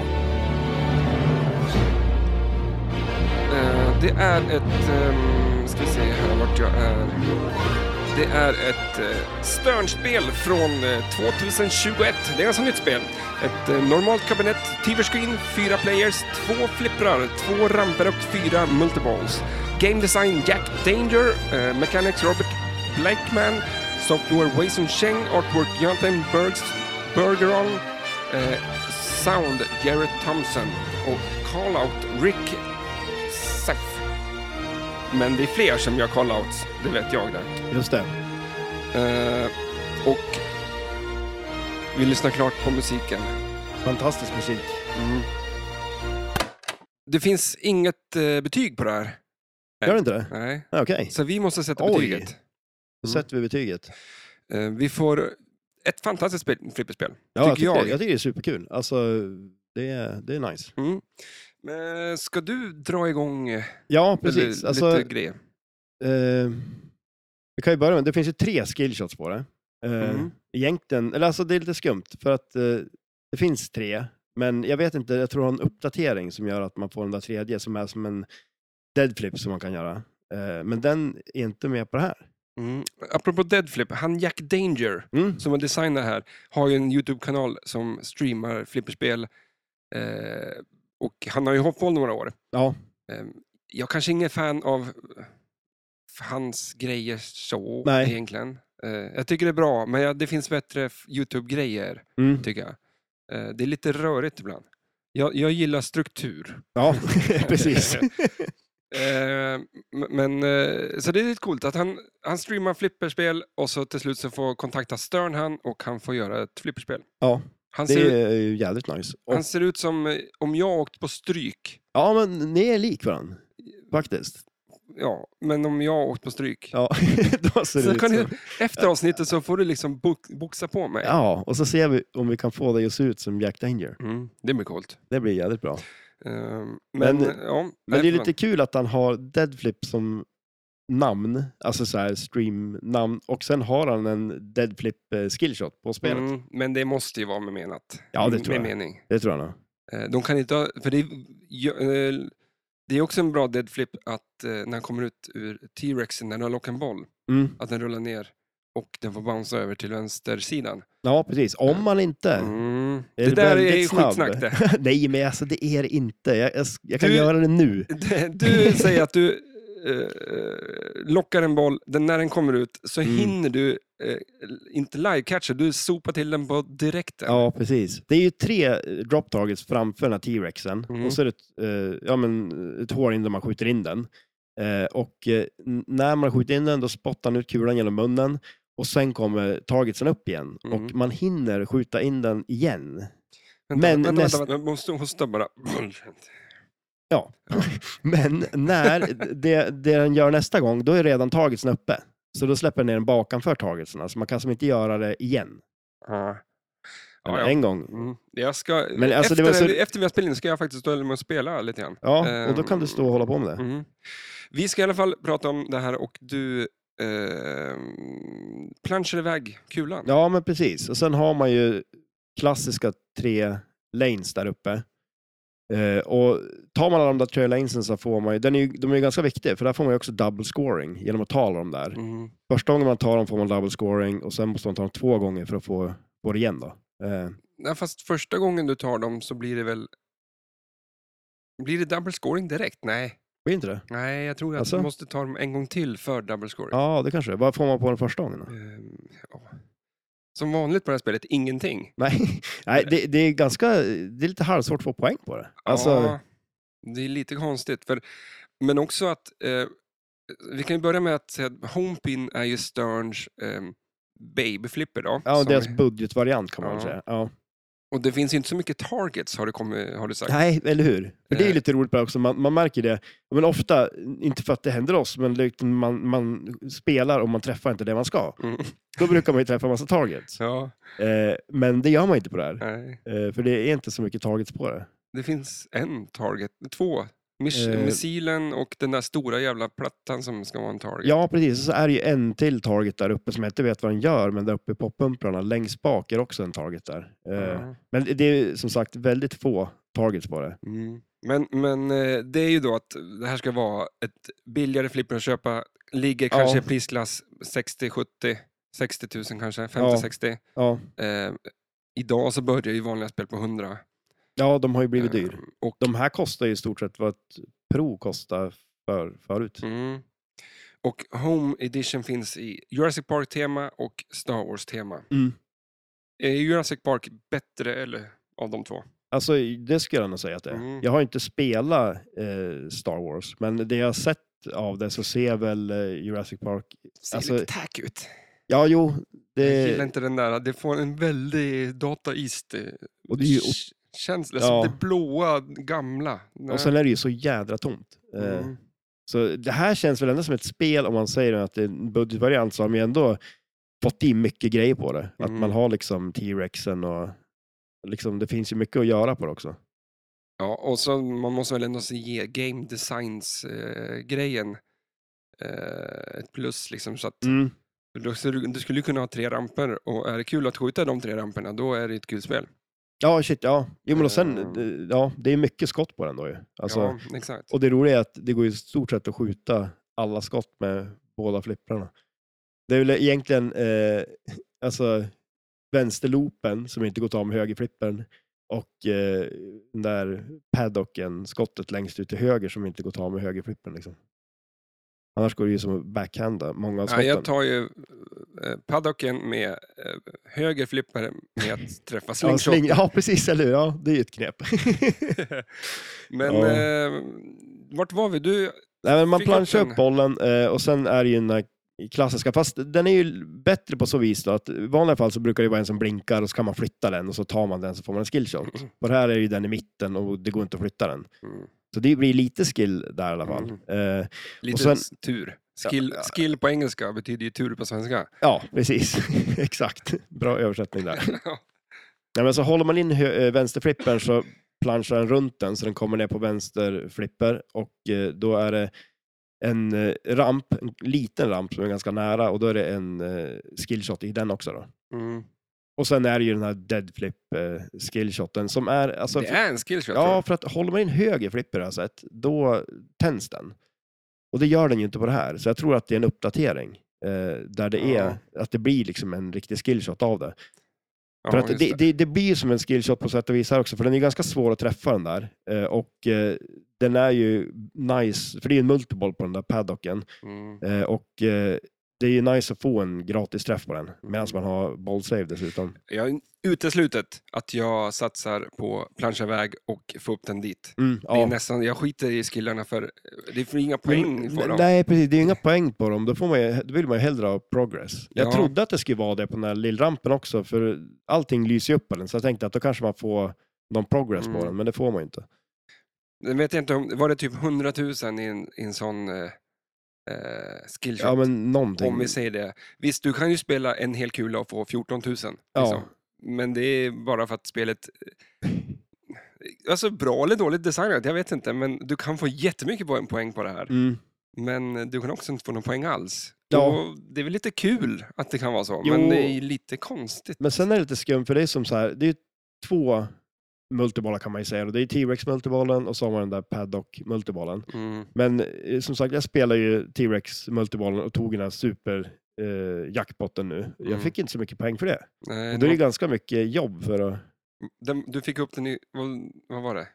Speaker 1: Eh, det är ett... ehm, ska vi se här vart jag är. Det är ett uh, Sternspel från eh, 2021. Det är alltså ett nytt spel. Ett eh, normalt kabinett, TV-screen, fyra players, två flipprar, två ramper och fyra multiballs. Game design Jack Danger, eh, mechanics Robert Blakeman, software Wei-Sun Cheng, artwork Jonathan Bergs, Bergeron, eh, sound Garrett Thompson och callout Rick Seff. Men det är fler som gör callouts, det vet jag där.
Speaker 2: Just det.
Speaker 1: Eh, och vi lyssnar klart på musiken.
Speaker 2: Fantastisk musik.
Speaker 1: Mm. Det finns inget eh, betyg på det här.
Speaker 2: Gör det inte det?
Speaker 1: Nej.
Speaker 2: Ja,
Speaker 3: Mm.
Speaker 2: Okej.
Speaker 1: Så vi måste sätta
Speaker 2: Oj.
Speaker 1: betyget.
Speaker 2: Då
Speaker 1: Mm.
Speaker 2: sätter vi betyget.
Speaker 1: Eh, vi får ett fantastiskt spel, flipperspel.
Speaker 2: Ja,
Speaker 1: Tycker
Speaker 2: jag tycker,
Speaker 1: jag.
Speaker 2: Det, jag tycker det är superkul. Alltså, det är, det är nice.
Speaker 1: Mm. Men ska du dra igång eh,
Speaker 2: Ja,
Speaker 1: eller,
Speaker 2: precis. Alltså,
Speaker 1: lite grejer?
Speaker 2: eh, vi kan ju börja med, det finns ju tre skillshots på det. Eh,
Speaker 1: Mm.
Speaker 2: Egentligen, eller alltså det är lite skumt för att eh, det finns tre, men jag vet inte, jag tror det har en uppdatering som gör att man får den där tredje som är som en deadflip som man kan göra. Eh, men den är inte med på det här.
Speaker 1: Mm. Apropå Deadflip, han Jack Danger
Speaker 2: Mm.
Speaker 1: som var designer här har ju en YouTube-kanal som streamar flipperspel. Eh, och han har ju hållit på några år.
Speaker 2: Ja,
Speaker 1: Eh, Jag kanske ingen fan av hans grejer så
Speaker 2: Nej.
Speaker 1: egentligen. Eh, Jag tycker det är bra, men jag, det finns bättre f- YouTube-grejer
Speaker 2: mm.
Speaker 1: tycker jag. Eh, Det är lite rörigt ibland. Jag, jag gillar struktur.
Speaker 2: ja precis.
Speaker 1: Eh, m- men, eh, så det är lite coolt att han, han streamar flipperspel och så till slut så får kontakta Stern han och han får göra ett flipperspel.
Speaker 2: Ja,
Speaker 1: Han ser,
Speaker 2: det är ju jävligt nice. Och,
Speaker 1: han ser ut som eh, om jag åkt på stryk.
Speaker 2: ja, men ni är lik varandra. Faktiskt.
Speaker 1: Ja, men om jag åkt på stryk.
Speaker 2: Ja, då ser det
Speaker 1: så
Speaker 2: ut
Speaker 1: kan
Speaker 2: så.
Speaker 1: du, efter avsnittet så får du liksom bok, boxa på mig.
Speaker 2: Ja, och så ser vi om vi kan få dig att se ut som Jack Danger.
Speaker 1: Mm, det blir coolt.
Speaker 2: Det blir jävligt bra.
Speaker 1: Eh, men,
Speaker 2: Men-
Speaker 1: ja,
Speaker 2: Men
Speaker 1: nej,
Speaker 2: det är
Speaker 1: fan.
Speaker 2: lite kul att han har Deadflip som namn, alltså så här stream-namn, och sen har han en Deadflip eh, skillshot på spelet.
Speaker 1: Mm, men det måste ju vara med menat.
Speaker 2: Ja, det tror
Speaker 1: med
Speaker 2: jag.
Speaker 1: mening.
Speaker 2: Det tror jag nog.
Speaker 1: Eh, De kan inte ha, för det, är- ja, eh, det är också en bra dead flip att eh, när han kommer ut ur T-rexen när den har lockat en boll,
Speaker 2: Mm.
Speaker 1: att den rullar ner och den får bounce över till vänstersidan.
Speaker 2: Ja, precis. Om man inte...
Speaker 1: Mm.
Speaker 2: är
Speaker 1: Det, där
Speaker 2: väldigt
Speaker 1: är ju
Speaker 2: snabb.
Speaker 1: skitsnack det.
Speaker 2: Nej, men alltså det är det inte. Jag, jag, jag kan
Speaker 1: Du-
Speaker 2: göra det nu.
Speaker 1: Det- Du säger att du eh, lockar en boll, den, när den kommer ut så
Speaker 2: Mm.
Speaker 1: hinner du, eh, inte live-catcha, du sopar till den på direkten.
Speaker 2: Ja, precis. Det är ju tre eh, drop targets framför den här T-rexen.
Speaker 1: Mm.
Speaker 2: Och så är det ett, eh, ja, men, ett hål in där man skjuter in den. Eh, och eh, n- när man skjuter in den då spottar han ut kulan genom munnen. Och sen kommer targetsen upp igen.
Speaker 1: Mm.
Speaker 2: Och man hinner skjuta in den igen.
Speaker 1: vänta,
Speaker 2: men
Speaker 1: vänta,
Speaker 2: näst- Ah.
Speaker 1: vänta, vänta, måste hosta bara.
Speaker 2: Ja. Men när det, det den gör nästa gång, då är redan targetsen uppe. Så då släpper den ner den bakanför targetsen. Så man kan som inte göra det igen.
Speaker 1: Ja.
Speaker 2: Eller
Speaker 1: Ja, ja.
Speaker 2: En gång.
Speaker 1: Mm. Jag ska,
Speaker 2: Men alltså, det
Speaker 1: efter,
Speaker 2: var så-
Speaker 1: vi- efter vi har spelat in ska jag faktiskt stå med och spela lite grann.
Speaker 2: Ja, och då
Speaker 1: Ehm.
Speaker 2: kan du stå och hålla på med det.
Speaker 1: Mm. Vi ska i alla fall prata om det här och du eh, planschar iväg kulan.
Speaker 2: Ja, men precis. Och sen har man ju klassiska tre lanes där uppe. Eh, och tar man alla de där tre lanesen så får man ju, den är ju, de är ju ganska viktiga, för där får man ju också double scoring genom att ta alla de där.
Speaker 1: Mm.
Speaker 2: Första gången man tar dem får man double scoring och sen måste man ta dem två gånger för att få, få det igen då. Eh,
Speaker 1: Nej, fast första gången du tar dem så blir det väl... Blir det double scoring direkt? Nej,
Speaker 2: blir inte det?
Speaker 1: Nej jag tror att
Speaker 2: Alltså?
Speaker 1: du måste ta dem en gång till för double scoring.
Speaker 2: Ja, det kanske det är. Vad får man på den första gången då?
Speaker 1: Ehm, ja. Som vanligt på det här spelet, ingenting.
Speaker 2: Nej, Nej det, det är ganska, det är lite halvsvårt att få poäng på det. Alltså,
Speaker 1: Ja, det är lite konstigt. För, men också att, eh, vi kan ju börja med att säga att Homepin är ju Sterns eh, babyflipper. Då,
Speaker 2: ja,
Speaker 1: som-
Speaker 2: deras budgetvariant kan man väl
Speaker 1: Ja.
Speaker 2: säga. Ja.
Speaker 1: och det finns ju inte så mycket targets har du, kommit, har du sagt.
Speaker 2: Nej, eller hur? För det är ju
Speaker 1: Eh.
Speaker 2: lite roligt bara också, man, man märker det. Men ofta, inte för att det händer oss, men likt man, man spelar och man träffar inte det man ska.
Speaker 1: Mm.
Speaker 2: Då brukar man ju träffa en massa targets.
Speaker 1: Ja,
Speaker 2: Eh, men det gör man inte på det här.
Speaker 1: nej.
Speaker 2: Eh, för det är inte så mycket targets på det.
Speaker 1: Det finns en target, två. Miss,
Speaker 2: Eh.
Speaker 1: Missilen och den där stora jävla plattan som ska vara en target.
Speaker 2: Ja, precis. Och så är det ju en till target där uppe som jag inte vet vad den gör, men där uppe i poppumprarna längst bak är också en target där. Eh,
Speaker 1: Ja.
Speaker 2: Men det är ju som sagt väldigt få targets på det.
Speaker 1: Mm. Men, men eh, det är ju då att det här ska vara ett billigare flipper att köpa. Ligger
Speaker 2: Ja.
Speaker 1: kanske i prisklass 60, 70, 60 000 kanske, 50,
Speaker 2: Ja.
Speaker 1: 60.
Speaker 2: Ja,
Speaker 1: Eh, idag så börjar ju vanliga spel på 100.
Speaker 2: ja de har ju blivit
Speaker 1: Eh,
Speaker 2: dyr.
Speaker 1: Och,
Speaker 2: De här kostar ju i stort sett vad ett Pro kostar för, förut.
Speaker 1: mm. och Home Edition finns i Jurassic Park-tema och Star Wars-tema.
Speaker 2: Mm.
Speaker 1: Är Jurassic Park bättre eller, av de två?
Speaker 2: Alltså, det skulle jag nog säga att det är.
Speaker 1: Mm.
Speaker 2: Jag har inte spelat eh, Star Wars, men det jag har sett av det så ser jag väl eh, Jurassic Park...
Speaker 1: Ser
Speaker 2: Alltså-
Speaker 1: lite tack ut.
Speaker 2: Ja, jo.
Speaker 1: Jag gillar
Speaker 2: Det...
Speaker 1: inte den där, det får en väldig Data East eh,
Speaker 2: Och, det är ju...
Speaker 1: Ch- känsla,
Speaker 2: Ja.
Speaker 1: som det blåa, gamla. Nej.
Speaker 2: och sen är det ju så jädra tomt. Eh,
Speaker 1: Mm.
Speaker 2: Så det här känns väl ändå som ett spel om man säger att det är en budgetvariant så har man ju ändå fått in mycket grejer på det. Att
Speaker 1: Mm.
Speaker 2: man har liksom T-Rexen och liksom, det finns ju mycket att göra på det också.
Speaker 1: Ja, och så man måste väl ändå se- ge game designs-grejen ett plus. Liksom, så att,
Speaker 2: Mm.
Speaker 1: då- så du, du skulle ju kunna ha tre ramper och är det kul att skjuta de tre ramperna, då är det ett kul spel.
Speaker 2: Ja, shit, ja. Jo, men och sen,
Speaker 1: Eh.
Speaker 2: eh, ja, det är mycket skott på den då ju. Alltså,
Speaker 1: ja, exakt.
Speaker 2: Och det roliga är att det går ju i stort sett att skjuta alla skott med båda flipprarna. Det är väl egentligen eh, alltså vänsterloopen som inte går att ta med högerflippern och eh, den där paddocken, skottet längst ut till höger som inte går att ta med högerflippern. Liksom. Annars går det ju som att backhanda många
Speaker 1: Ja,
Speaker 2: av skotten.
Speaker 1: jag tar ju eh, paddocken med eh, höger flipper med att träffa
Speaker 2: ja,
Speaker 1: slingshot.
Speaker 2: sling, ja, precis, eller hur? Ja, det är ju ett knep.
Speaker 1: Men
Speaker 2: Ja.
Speaker 1: eh, vart var vi? Du
Speaker 2: Nej, men man
Speaker 1: Fick upp
Speaker 2: planchar
Speaker 1: den.
Speaker 2: upp bollen eh, och sen är det ju den här klassiska, fast den är ju bättre på så vis då att i vanliga fall så brukar det vara en som blinkar och så kan man flytta den och så tar man den så får man en skillshot. Och här är ju den i mitten och det går inte att flytta den.
Speaker 1: Mm.
Speaker 2: Så det blir lite skill där i alla fall. Eh,
Speaker 1: Lite
Speaker 2: sen-
Speaker 1: s- tur. Skill,
Speaker 2: Ja,
Speaker 1: skill på engelska betyder ju tur på svenska.
Speaker 2: ja, precis. Exakt. Bra översättning där. Nej, men så håller man in hö- eh, vänsterflippern så planchar den runt den så den kommer ner på vänsterflipper och eh, då är det en eh, ramp, en liten ramp som är ganska nära och då är det en eh, skillshot i den också då.
Speaker 1: Mm.
Speaker 2: Och sen är det ju den här deadflip eh, skillshoten som är... Alltså,
Speaker 1: Det är en skillshot.
Speaker 2: ja, för att håller man in höger flip på det här sättet, då tänds den. Och det gör den ju inte på det här, så jag tror att det är en uppdatering. Eh, där det är, att det blir liksom en riktig skillshot av det.
Speaker 1: ja,
Speaker 2: För att
Speaker 1: just
Speaker 2: det, det, det blir ju som en skillshot på sätt och vis här också, för den är ganska svår att träffa den där. Eh, och eh, den är ju nice, för det är ju en multiboll på den där paddocken.
Speaker 1: Mm.
Speaker 2: Eh, och eh, det är ju nice att få en gratis träff på den, medan man har bollsave dessutom.
Speaker 1: Jag uteslutet att jag satsar på plancha väg och få upp den dit.
Speaker 2: Mm,
Speaker 1: Det är
Speaker 2: ja.
Speaker 1: nästan, jag skiter i skillarna för eh, det får inga
Speaker 2: Men-
Speaker 1: poäng för dem.
Speaker 2: Nej, precis. Det är ju inga poäng på dem. Då, får man ju, då vill man ju hellre ha progress. Jag
Speaker 1: Ja.
Speaker 2: trodde att det skulle vara det på den här lillrampen också, för allting lyser ju upp på den, så jag tänkte att då kanske man får någon progress
Speaker 1: Mm.
Speaker 2: på den, men det får man ju inte.
Speaker 1: Jag vet inte om, var det typ 100 000 i en, i en sån eh, eh, skillshot?
Speaker 2: Ja, men någonting.
Speaker 1: Om vi säger det. Visst, du kan ju spela en hel kula och få 14 000. Liksom.
Speaker 2: Ja.
Speaker 1: Men det är bara för att spelet... eh, Alltså bra eller dåligt designat, jag vet inte. Men du kan få jättemycket poäng- poäng på det här.
Speaker 2: Mm.
Speaker 1: Men du kan också inte få någon poäng alls.
Speaker 2: Ja.
Speaker 1: Och det är väl lite kul att det kan vara så, men
Speaker 2: Jo.
Speaker 1: det är ju lite konstigt.
Speaker 2: Men sen är det lite skumt, för det är som så här, det är ju två multibollar kan man ju säga. Det är T-Rex-multibollen och så har man den där Paddock-multibollen.
Speaker 1: Mm.
Speaker 2: Men eh, som sagt, jag spelar ju T-Rex-multibollen och tog den här super eh, jackpotten nu.
Speaker 1: Mm.
Speaker 2: Jag fick inte så mycket poäng för det.
Speaker 1: Nej,
Speaker 2: Och
Speaker 1: det
Speaker 2: det är
Speaker 1: var-
Speaker 2: ju ganska mycket jobb för att...
Speaker 1: den, du fick upp den i, vad, vad var det?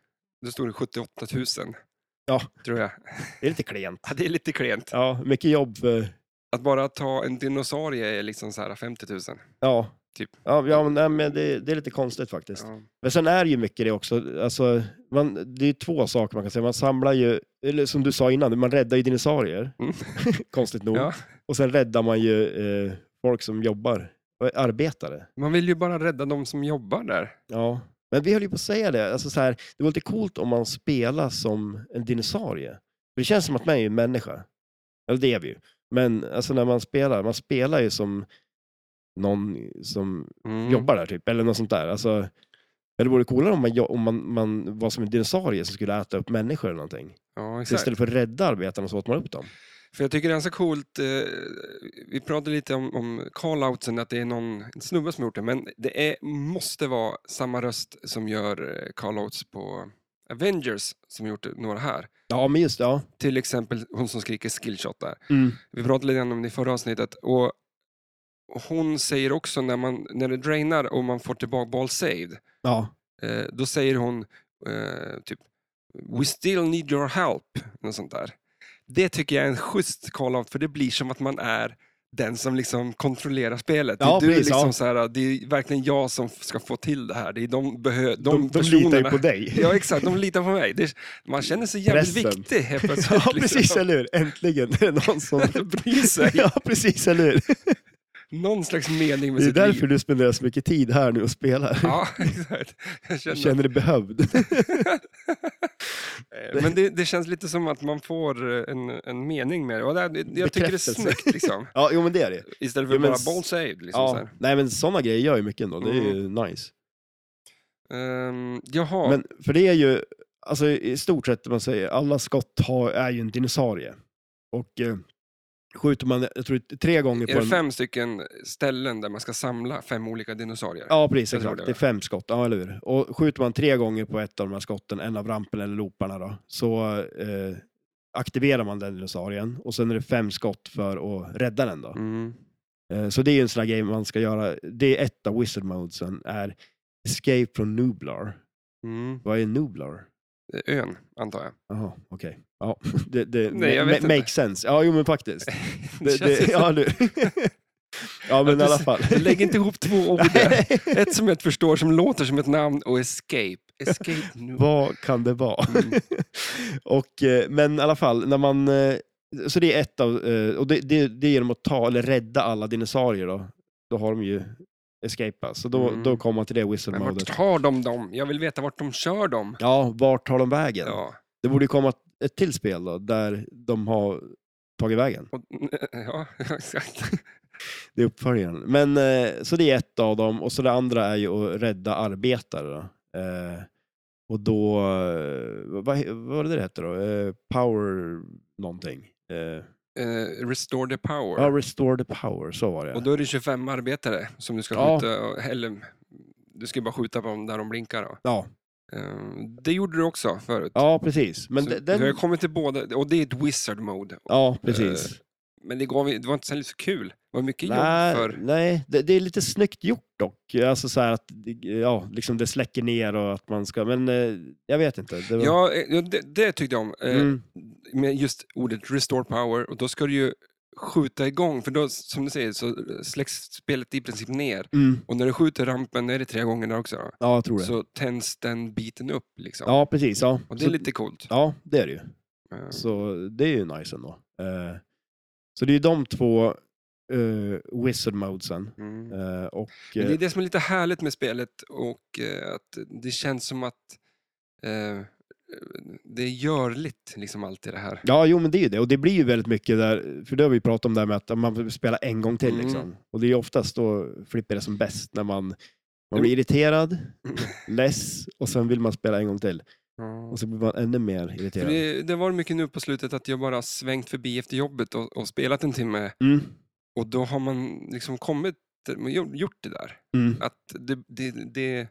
Speaker 1: Det stod det 78 000.
Speaker 2: Ja.
Speaker 1: Tror jag.
Speaker 2: Det är lite klent.
Speaker 1: Ja, det är lite klent.
Speaker 2: Ja, mycket jobb eh, för...
Speaker 1: Att bara ta en dinosaurie är liksom så här 50 000.
Speaker 2: Ja.
Speaker 1: Typ.
Speaker 2: Ja, ja men, nej, men det, det är lite konstigt faktiskt.
Speaker 1: Ja.
Speaker 2: Men sen är det ju mycket det också. Alltså, man, det är två saker man kan säga. Man samlar ju, eller som du sa innan, man räddar ju dinosaurier.
Speaker 1: Mm.
Speaker 2: Konstigt nog.
Speaker 1: Ja.
Speaker 2: Och sen räddar man ju eh, folk som jobbar, eh, arbetare.
Speaker 1: Man vill ju bara rädda de som jobbar där.
Speaker 2: Ja. Men vi höll ju på att säga det, alltså så här, det var lite coolt om man spelar som en dinosaurie. För det känns som att man är en människa. Eller det är vi ju. Men alltså när man spelar, man spelar ju som någon som
Speaker 1: Mm.
Speaker 2: jobbar där typ, eller något sånt där. Alltså, men det vore coolare om, man, jo- om man, man var som en dinosaurie som skulle äta upp människor eller någonting.
Speaker 1: Ja,
Speaker 2: Så
Speaker 1: exakt.
Speaker 2: istället för att rädda arbetarna så åt man upp dem.
Speaker 1: För jag tycker det är ganska coolt, eh, vi pratade lite om, om call-outsen, att det är någon snubbe som gjort det, men det är, måste vara samma röst som gör eh, call-outs på Avengers som gjort några här.
Speaker 2: Ja, men just det, ja.
Speaker 1: Till exempel hon som skriker skillshot där.
Speaker 2: Mm.
Speaker 1: Vi pratade lite grann om det i förra avsnittet och hon säger också när, man, när det drainar och man får tillbaka ball saved,
Speaker 2: Ja,
Speaker 1: eh, då säger hon eh, typ We still need your help. Något sånt där. Det tycker jag är en schysst call-out för det blir som att man är den som liksom kontrollerar spelet.
Speaker 2: Ja,
Speaker 1: det, är du
Speaker 2: precis,
Speaker 1: liksom
Speaker 2: ja.
Speaker 1: så här, det är verkligen jag som f- ska få till det här. Det är de, behö- de,
Speaker 2: de, de
Speaker 1: personerna.
Speaker 2: litar ju på dig.
Speaker 1: Ja, exakt. De litar på mig. Det är, man känner sig jävligt
Speaker 2: Pressen.
Speaker 1: viktig helt plötsligt.
Speaker 2: Ja, precis,
Speaker 1: Liksom.
Speaker 2: eller hur? Äntligen är det någon som
Speaker 1: Att bry sig.
Speaker 2: Ja, precis, eller hur?
Speaker 1: Någon slags mening med
Speaker 2: Det är
Speaker 1: sitt
Speaker 2: därför
Speaker 1: liv.
Speaker 2: du spenderar så mycket tid här nu och spelar.
Speaker 1: Ja, exakt. Jag
Speaker 2: Du
Speaker 1: känner
Speaker 2: känner dig behövd.
Speaker 1: Eh, Men det, det känns lite som att man får eh, en, en mening med det. Och det jag jag tycker det är
Speaker 2: Bekräftelse.
Speaker 1: snyggt liksom.
Speaker 2: Ja, jo men det är det.
Speaker 1: Istället för
Speaker 2: Jo, men
Speaker 1: bara
Speaker 2: s-
Speaker 1: ball saved. Liksom, så
Speaker 2: Ja.
Speaker 1: här.
Speaker 2: Nej men sådana grejer gör ju mycket ändå, det är ju
Speaker 1: Mm.
Speaker 2: nice.
Speaker 1: Ehm, jaha,
Speaker 2: Men, för det är ju, alltså i stort sett, man säger, alla skott har, är ju en dinosaurie. Och eh, skjuter man, jag tror det är tre gånger på
Speaker 1: är det
Speaker 2: en...
Speaker 1: fem stycken ställen där man ska samla fem olika dinosaurier?
Speaker 2: Ja, precis.
Speaker 1: Jag tror det,
Speaker 2: Exakt. Det,
Speaker 1: va?
Speaker 2: är fem skott, ja, eller hur? Och skjuter man tre gånger på ett av de här skotten, en av rampen eller looparna då, så eh, aktiverar man den dinosaurien och sen är det fem skott för att rädda den då.
Speaker 1: Mm.
Speaker 2: Eh, så det är ju en sån här grej man ska göra. Det är ett av wizard modesen, är Escape from Nublar.
Speaker 1: Mm.
Speaker 2: Vad är Nublar?
Speaker 1: Eh, Ön, antar jag.
Speaker 2: Jaha, okej. Ja, det, det
Speaker 1: Nej, jag vet
Speaker 2: ma-
Speaker 1: inte.
Speaker 2: makes sense. Ja, jo men faktiskt.
Speaker 1: Det
Speaker 2: Det,
Speaker 1: känns ju
Speaker 2: det,
Speaker 1: som-
Speaker 2: ja, du. ja, men i alla fall.
Speaker 1: Lägg inte ihop två ord. där. Ett som jag förstår som låter som ett namn och escape Escape New
Speaker 2: Vad kan det vara?
Speaker 1: Mm.
Speaker 2: och, eh, men i alla fall, när man... eh, Så det är ett av... eh, Och det, det, det är genom att ta eller rädda alla dinosaurier då. Då har de ju escapat. Så då,
Speaker 1: Mm.
Speaker 2: då kommer man till det whistle
Speaker 1: Men
Speaker 2: modet.
Speaker 1: vart har de dem? Jag vill veta vart de kör dem.
Speaker 2: Ja, vart tar de vägen?
Speaker 1: Ja.
Speaker 2: Det borde ju komma ett till spel då, där de har tagit vägen.
Speaker 1: Och, ja, exakt.
Speaker 2: Det är uppföljaren. Men, eh, så det är ett av dem och så det andra är ju att rädda arbetare. Då. Eh, och då, eh, vad, he- vad var det det hette då? Eh, power någonting. Eh,
Speaker 1: Eh, restore the power.
Speaker 2: ja, restore the power, så var det.
Speaker 1: Och då är det 25 arbetare som du ska
Speaker 2: Ja.
Speaker 1: skjuta. och- Eller, du ska ju bara skjuta på dem där de blinkar. Då.
Speaker 2: ja.
Speaker 1: Eh, det gjorde du också förut.
Speaker 2: ja, precis. Men
Speaker 1: Så
Speaker 2: de-
Speaker 1: Vi har
Speaker 2: den,
Speaker 1: kommit till båda, och det är ett wizard mode.
Speaker 2: ja,
Speaker 1: Eh,
Speaker 2: precis.
Speaker 1: Men det, gav, det var inte så lite så kul. Det var mycket
Speaker 2: Nej,
Speaker 1: jobb för...
Speaker 2: nej det, det är lite snyggt gjort dock. Alltså så här att det- ja, liksom det släcker ner och att man ska, men eh, jag vet inte. Det var,
Speaker 1: Ja, eh, ja, det, det tyckte jag om. Eh,
Speaker 2: mm,
Speaker 1: Med just ordet restore power. Och då ska du ju skjuta igång, för då, som du säger, så släcks spelet i princip ner.
Speaker 2: mm,
Speaker 1: Och när du skjuter rampen, är det tre gånger där också, då,
Speaker 2: ja, jag tror det.
Speaker 1: så tänds den biten upp. Liksom.
Speaker 2: ja, precis. Ja.
Speaker 1: Och det är
Speaker 2: Så-
Speaker 1: lite coolt.
Speaker 2: Ja, det är det ju.
Speaker 1: Eh,
Speaker 2: Så det är ju nice ändå. Eh, så det är ju de två eh, wizard modesen.
Speaker 1: Mm.
Speaker 2: Eh, och,
Speaker 1: Men det
Speaker 2: eh,
Speaker 1: är det som är lite härligt med spelet och eh, att det känns som att eh, det är görligt liksom allt i det här.
Speaker 2: ja, jo men det är ju det. Och det blir ju väldigt mycket där, för det har vi pratat om där med att man vill spela en gång till
Speaker 1: Mm.
Speaker 2: liksom. Och det är ju oftast då flipper det som bäst när man, man
Speaker 1: Mm.
Speaker 2: blir irriterad, less och sen vill man spela en gång till.
Speaker 1: Ja.
Speaker 2: Och så blir man ännu mer
Speaker 1: För
Speaker 2: irriterad.
Speaker 1: det, det var mycket nu på slutet att jag bara svängt förbi efter jobbet och, och spelat en timme
Speaker 2: Mm.
Speaker 1: och då har man liksom kommit, man gjort- gjort det där.
Speaker 2: Mm.
Speaker 1: Att det, det, det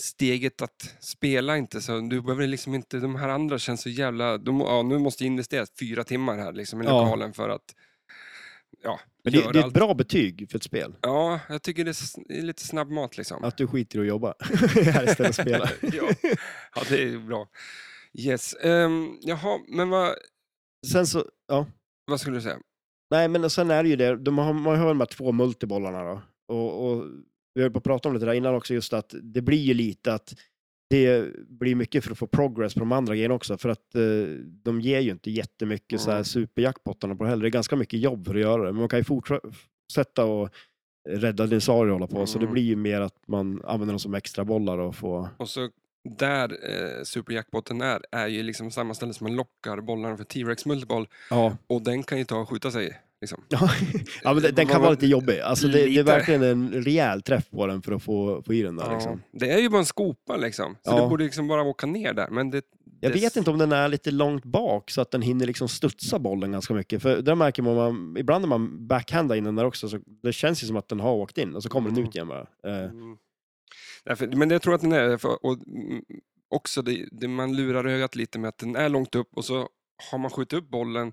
Speaker 1: steget att spela inte så, du behöver liksom inte, de här andra känns så jävla, de, ja, nu måste jag investera fyra timmar här liksom i
Speaker 2: Ja.
Speaker 1: lokalen för att ja,
Speaker 2: Men det,
Speaker 1: göra
Speaker 2: det är ett
Speaker 1: allt.
Speaker 2: bra betyg för ett spel.
Speaker 1: Ja, jag tycker det är s- det är lite snabbmat liksom.
Speaker 2: Att du skiter i att jobba här istället för att spela.
Speaker 1: ja. ja, det är bra. Yes. Um, jaha, men vad,
Speaker 2: Sen så, ja.
Speaker 1: vad skulle du säga?
Speaker 2: Nej, men och sen är det ju det, de har, man har de här två multibollarna då. Och, och vi höll på att prata om lite där innan också, just att det blir ju lite att det blir mycket för att få progress på de andra grejerna också, för att eh, de ger ju inte jättemycket så här
Speaker 1: Mm.
Speaker 2: superjackpottarna på det heller. Det är ganska mycket jobb för att göra det, men man kan ju fortsätta och rädda dinosaurier och hålla på, så det
Speaker 1: Mm.
Speaker 2: blir ju mer att man använder dem som extra bollar och får...
Speaker 1: Och så där eh, superjackpotten är, är ju liksom samma ställe som man lockar bollarna för T-Rex multiboll
Speaker 2: Ja,
Speaker 1: och den kan ju ta och skjuta sig. Liksom.
Speaker 2: ja men den, den kan
Speaker 1: Vad-
Speaker 2: vara lite jobbig. Alltså det, det
Speaker 1: Lite.
Speaker 2: är verkligen en rejäl träff på den för att få, få i den där liksom.
Speaker 1: Det är ju bara en skopa liksom, så
Speaker 2: Ja.
Speaker 1: det borde liksom bara åka ner där. Men det,
Speaker 2: Jag
Speaker 1: det-
Speaker 2: vet inte om den är lite långt bak så att den hinner liksom studsa bollen ganska mycket. För där märker man, man ibland när man backhandar in den där också, så det känns ju som att den har åkt in och så kommer den ut igen bara. Eh,
Speaker 1: Mm. Därför, men jag tror att den är, för, och mm, också det, det man lurar ögat lite med att den är långt upp och så har man skjutit upp bollen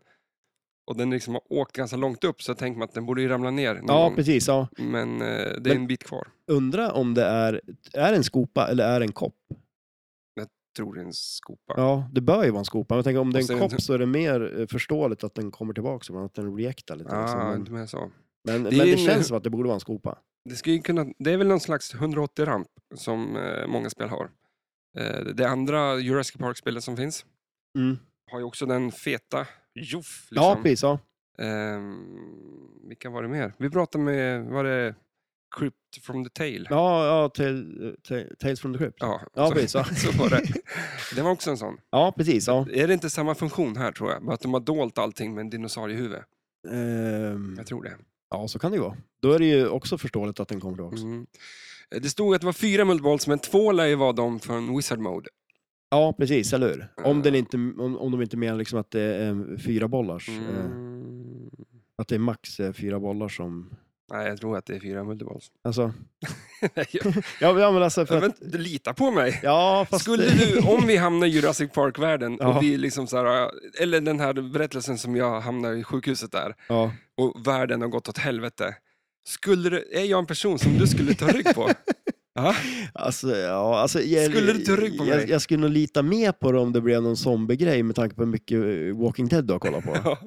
Speaker 1: och den liksom har åkt ganska långt upp så tänker man att den borde ju ramla ner någon
Speaker 2: ja,
Speaker 1: gång.
Speaker 2: precis. Ja.
Speaker 1: Men eh, det är
Speaker 2: Men-
Speaker 1: en bit kvar.
Speaker 2: Undra om det är, är det en skopa eller är det en kopp?
Speaker 1: Tror det är en skopa.
Speaker 2: Ja, det bör ju vara en skopa. Men jag tänker om det
Speaker 1: Och
Speaker 2: är en
Speaker 1: sen-
Speaker 2: kopp så är det mer eh, förståeligt att den kommer tillbaka, men att den reactar lite. liksom.
Speaker 1: ah,
Speaker 2: Men,
Speaker 1: du menar så.
Speaker 2: men,
Speaker 1: det är
Speaker 2: men det
Speaker 1: en-
Speaker 2: känns som att det borde vara en skopa.
Speaker 1: Det, ska ju kunna, det är väl någon slags 180-ramp som eh, många spel har. Eh, det andra Jurassic Park-spelet som finns
Speaker 2: Mm.
Speaker 1: har ju också den feta joff.
Speaker 2: Ja, precis. Ja.
Speaker 1: Um, vilka var det mer? Vi pratade med, var det Crypt from the Tail?
Speaker 2: Ja, ja till, till, Tales from the Crypt.
Speaker 1: Ja,
Speaker 2: Ja,
Speaker 1: så,
Speaker 2: precis. Ja,
Speaker 1: så var det. Det var också en sån.
Speaker 2: ja precis. Ja.
Speaker 1: Är det inte samma funktion här tror jag? Bara att de har dolt allting med en dinosauriehuvud.
Speaker 2: Ehm.
Speaker 1: Jag tror det.
Speaker 2: Ja, så kan det ju vara. Då är det ju också förståeligt att den kommer tillbaka.
Speaker 1: Mm. Eh, Det stod att det var fyra multiballs, men två lär ju vara de från Wizard Mode.
Speaker 2: Ja, precis, eller hur? Om,
Speaker 1: Ja.
Speaker 2: den inte, om, om de inte menar liksom att det är eh, fyra bollars, eh,
Speaker 1: Mm.
Speaker 2: att det är max eh, fyra bollar som...
Speaker 1: Nej, jag tror att det är fyra multiballs.
Speaker 2: Alltså,
Speaker 1: Nej, jag-
Speaker 2: ja, men- ja, men alltså för
Speaker 1: men,
Speaker 2: att,
Speaker 1: du litar på mig!
Speaker 2: Ja, fast...
Speaker 1: Skulle du, om vi hamnar i Jurassic Park-världen,
Speaker 2: Ja.
Speaker 1: och vi liksom så här, eller den här berättelsen som jag hamnar i sjukhuset där,
Speaker 2: Ja.
Speaker 1: och världen har gått åt helvete. Skulle du, är jag en person som du skulle ta rygg på? Ja,
Speaker 2: Alltså, ja, alltså, jag,
Speaker 1: Skulle du ta rygg på mig?
Speaker 2: Jag, jag skulle nog lita med på det om det blev någon zombiegrej med tanke på hur mycket eh, Walking Dead du har kollat på.
Speaker 1: ja.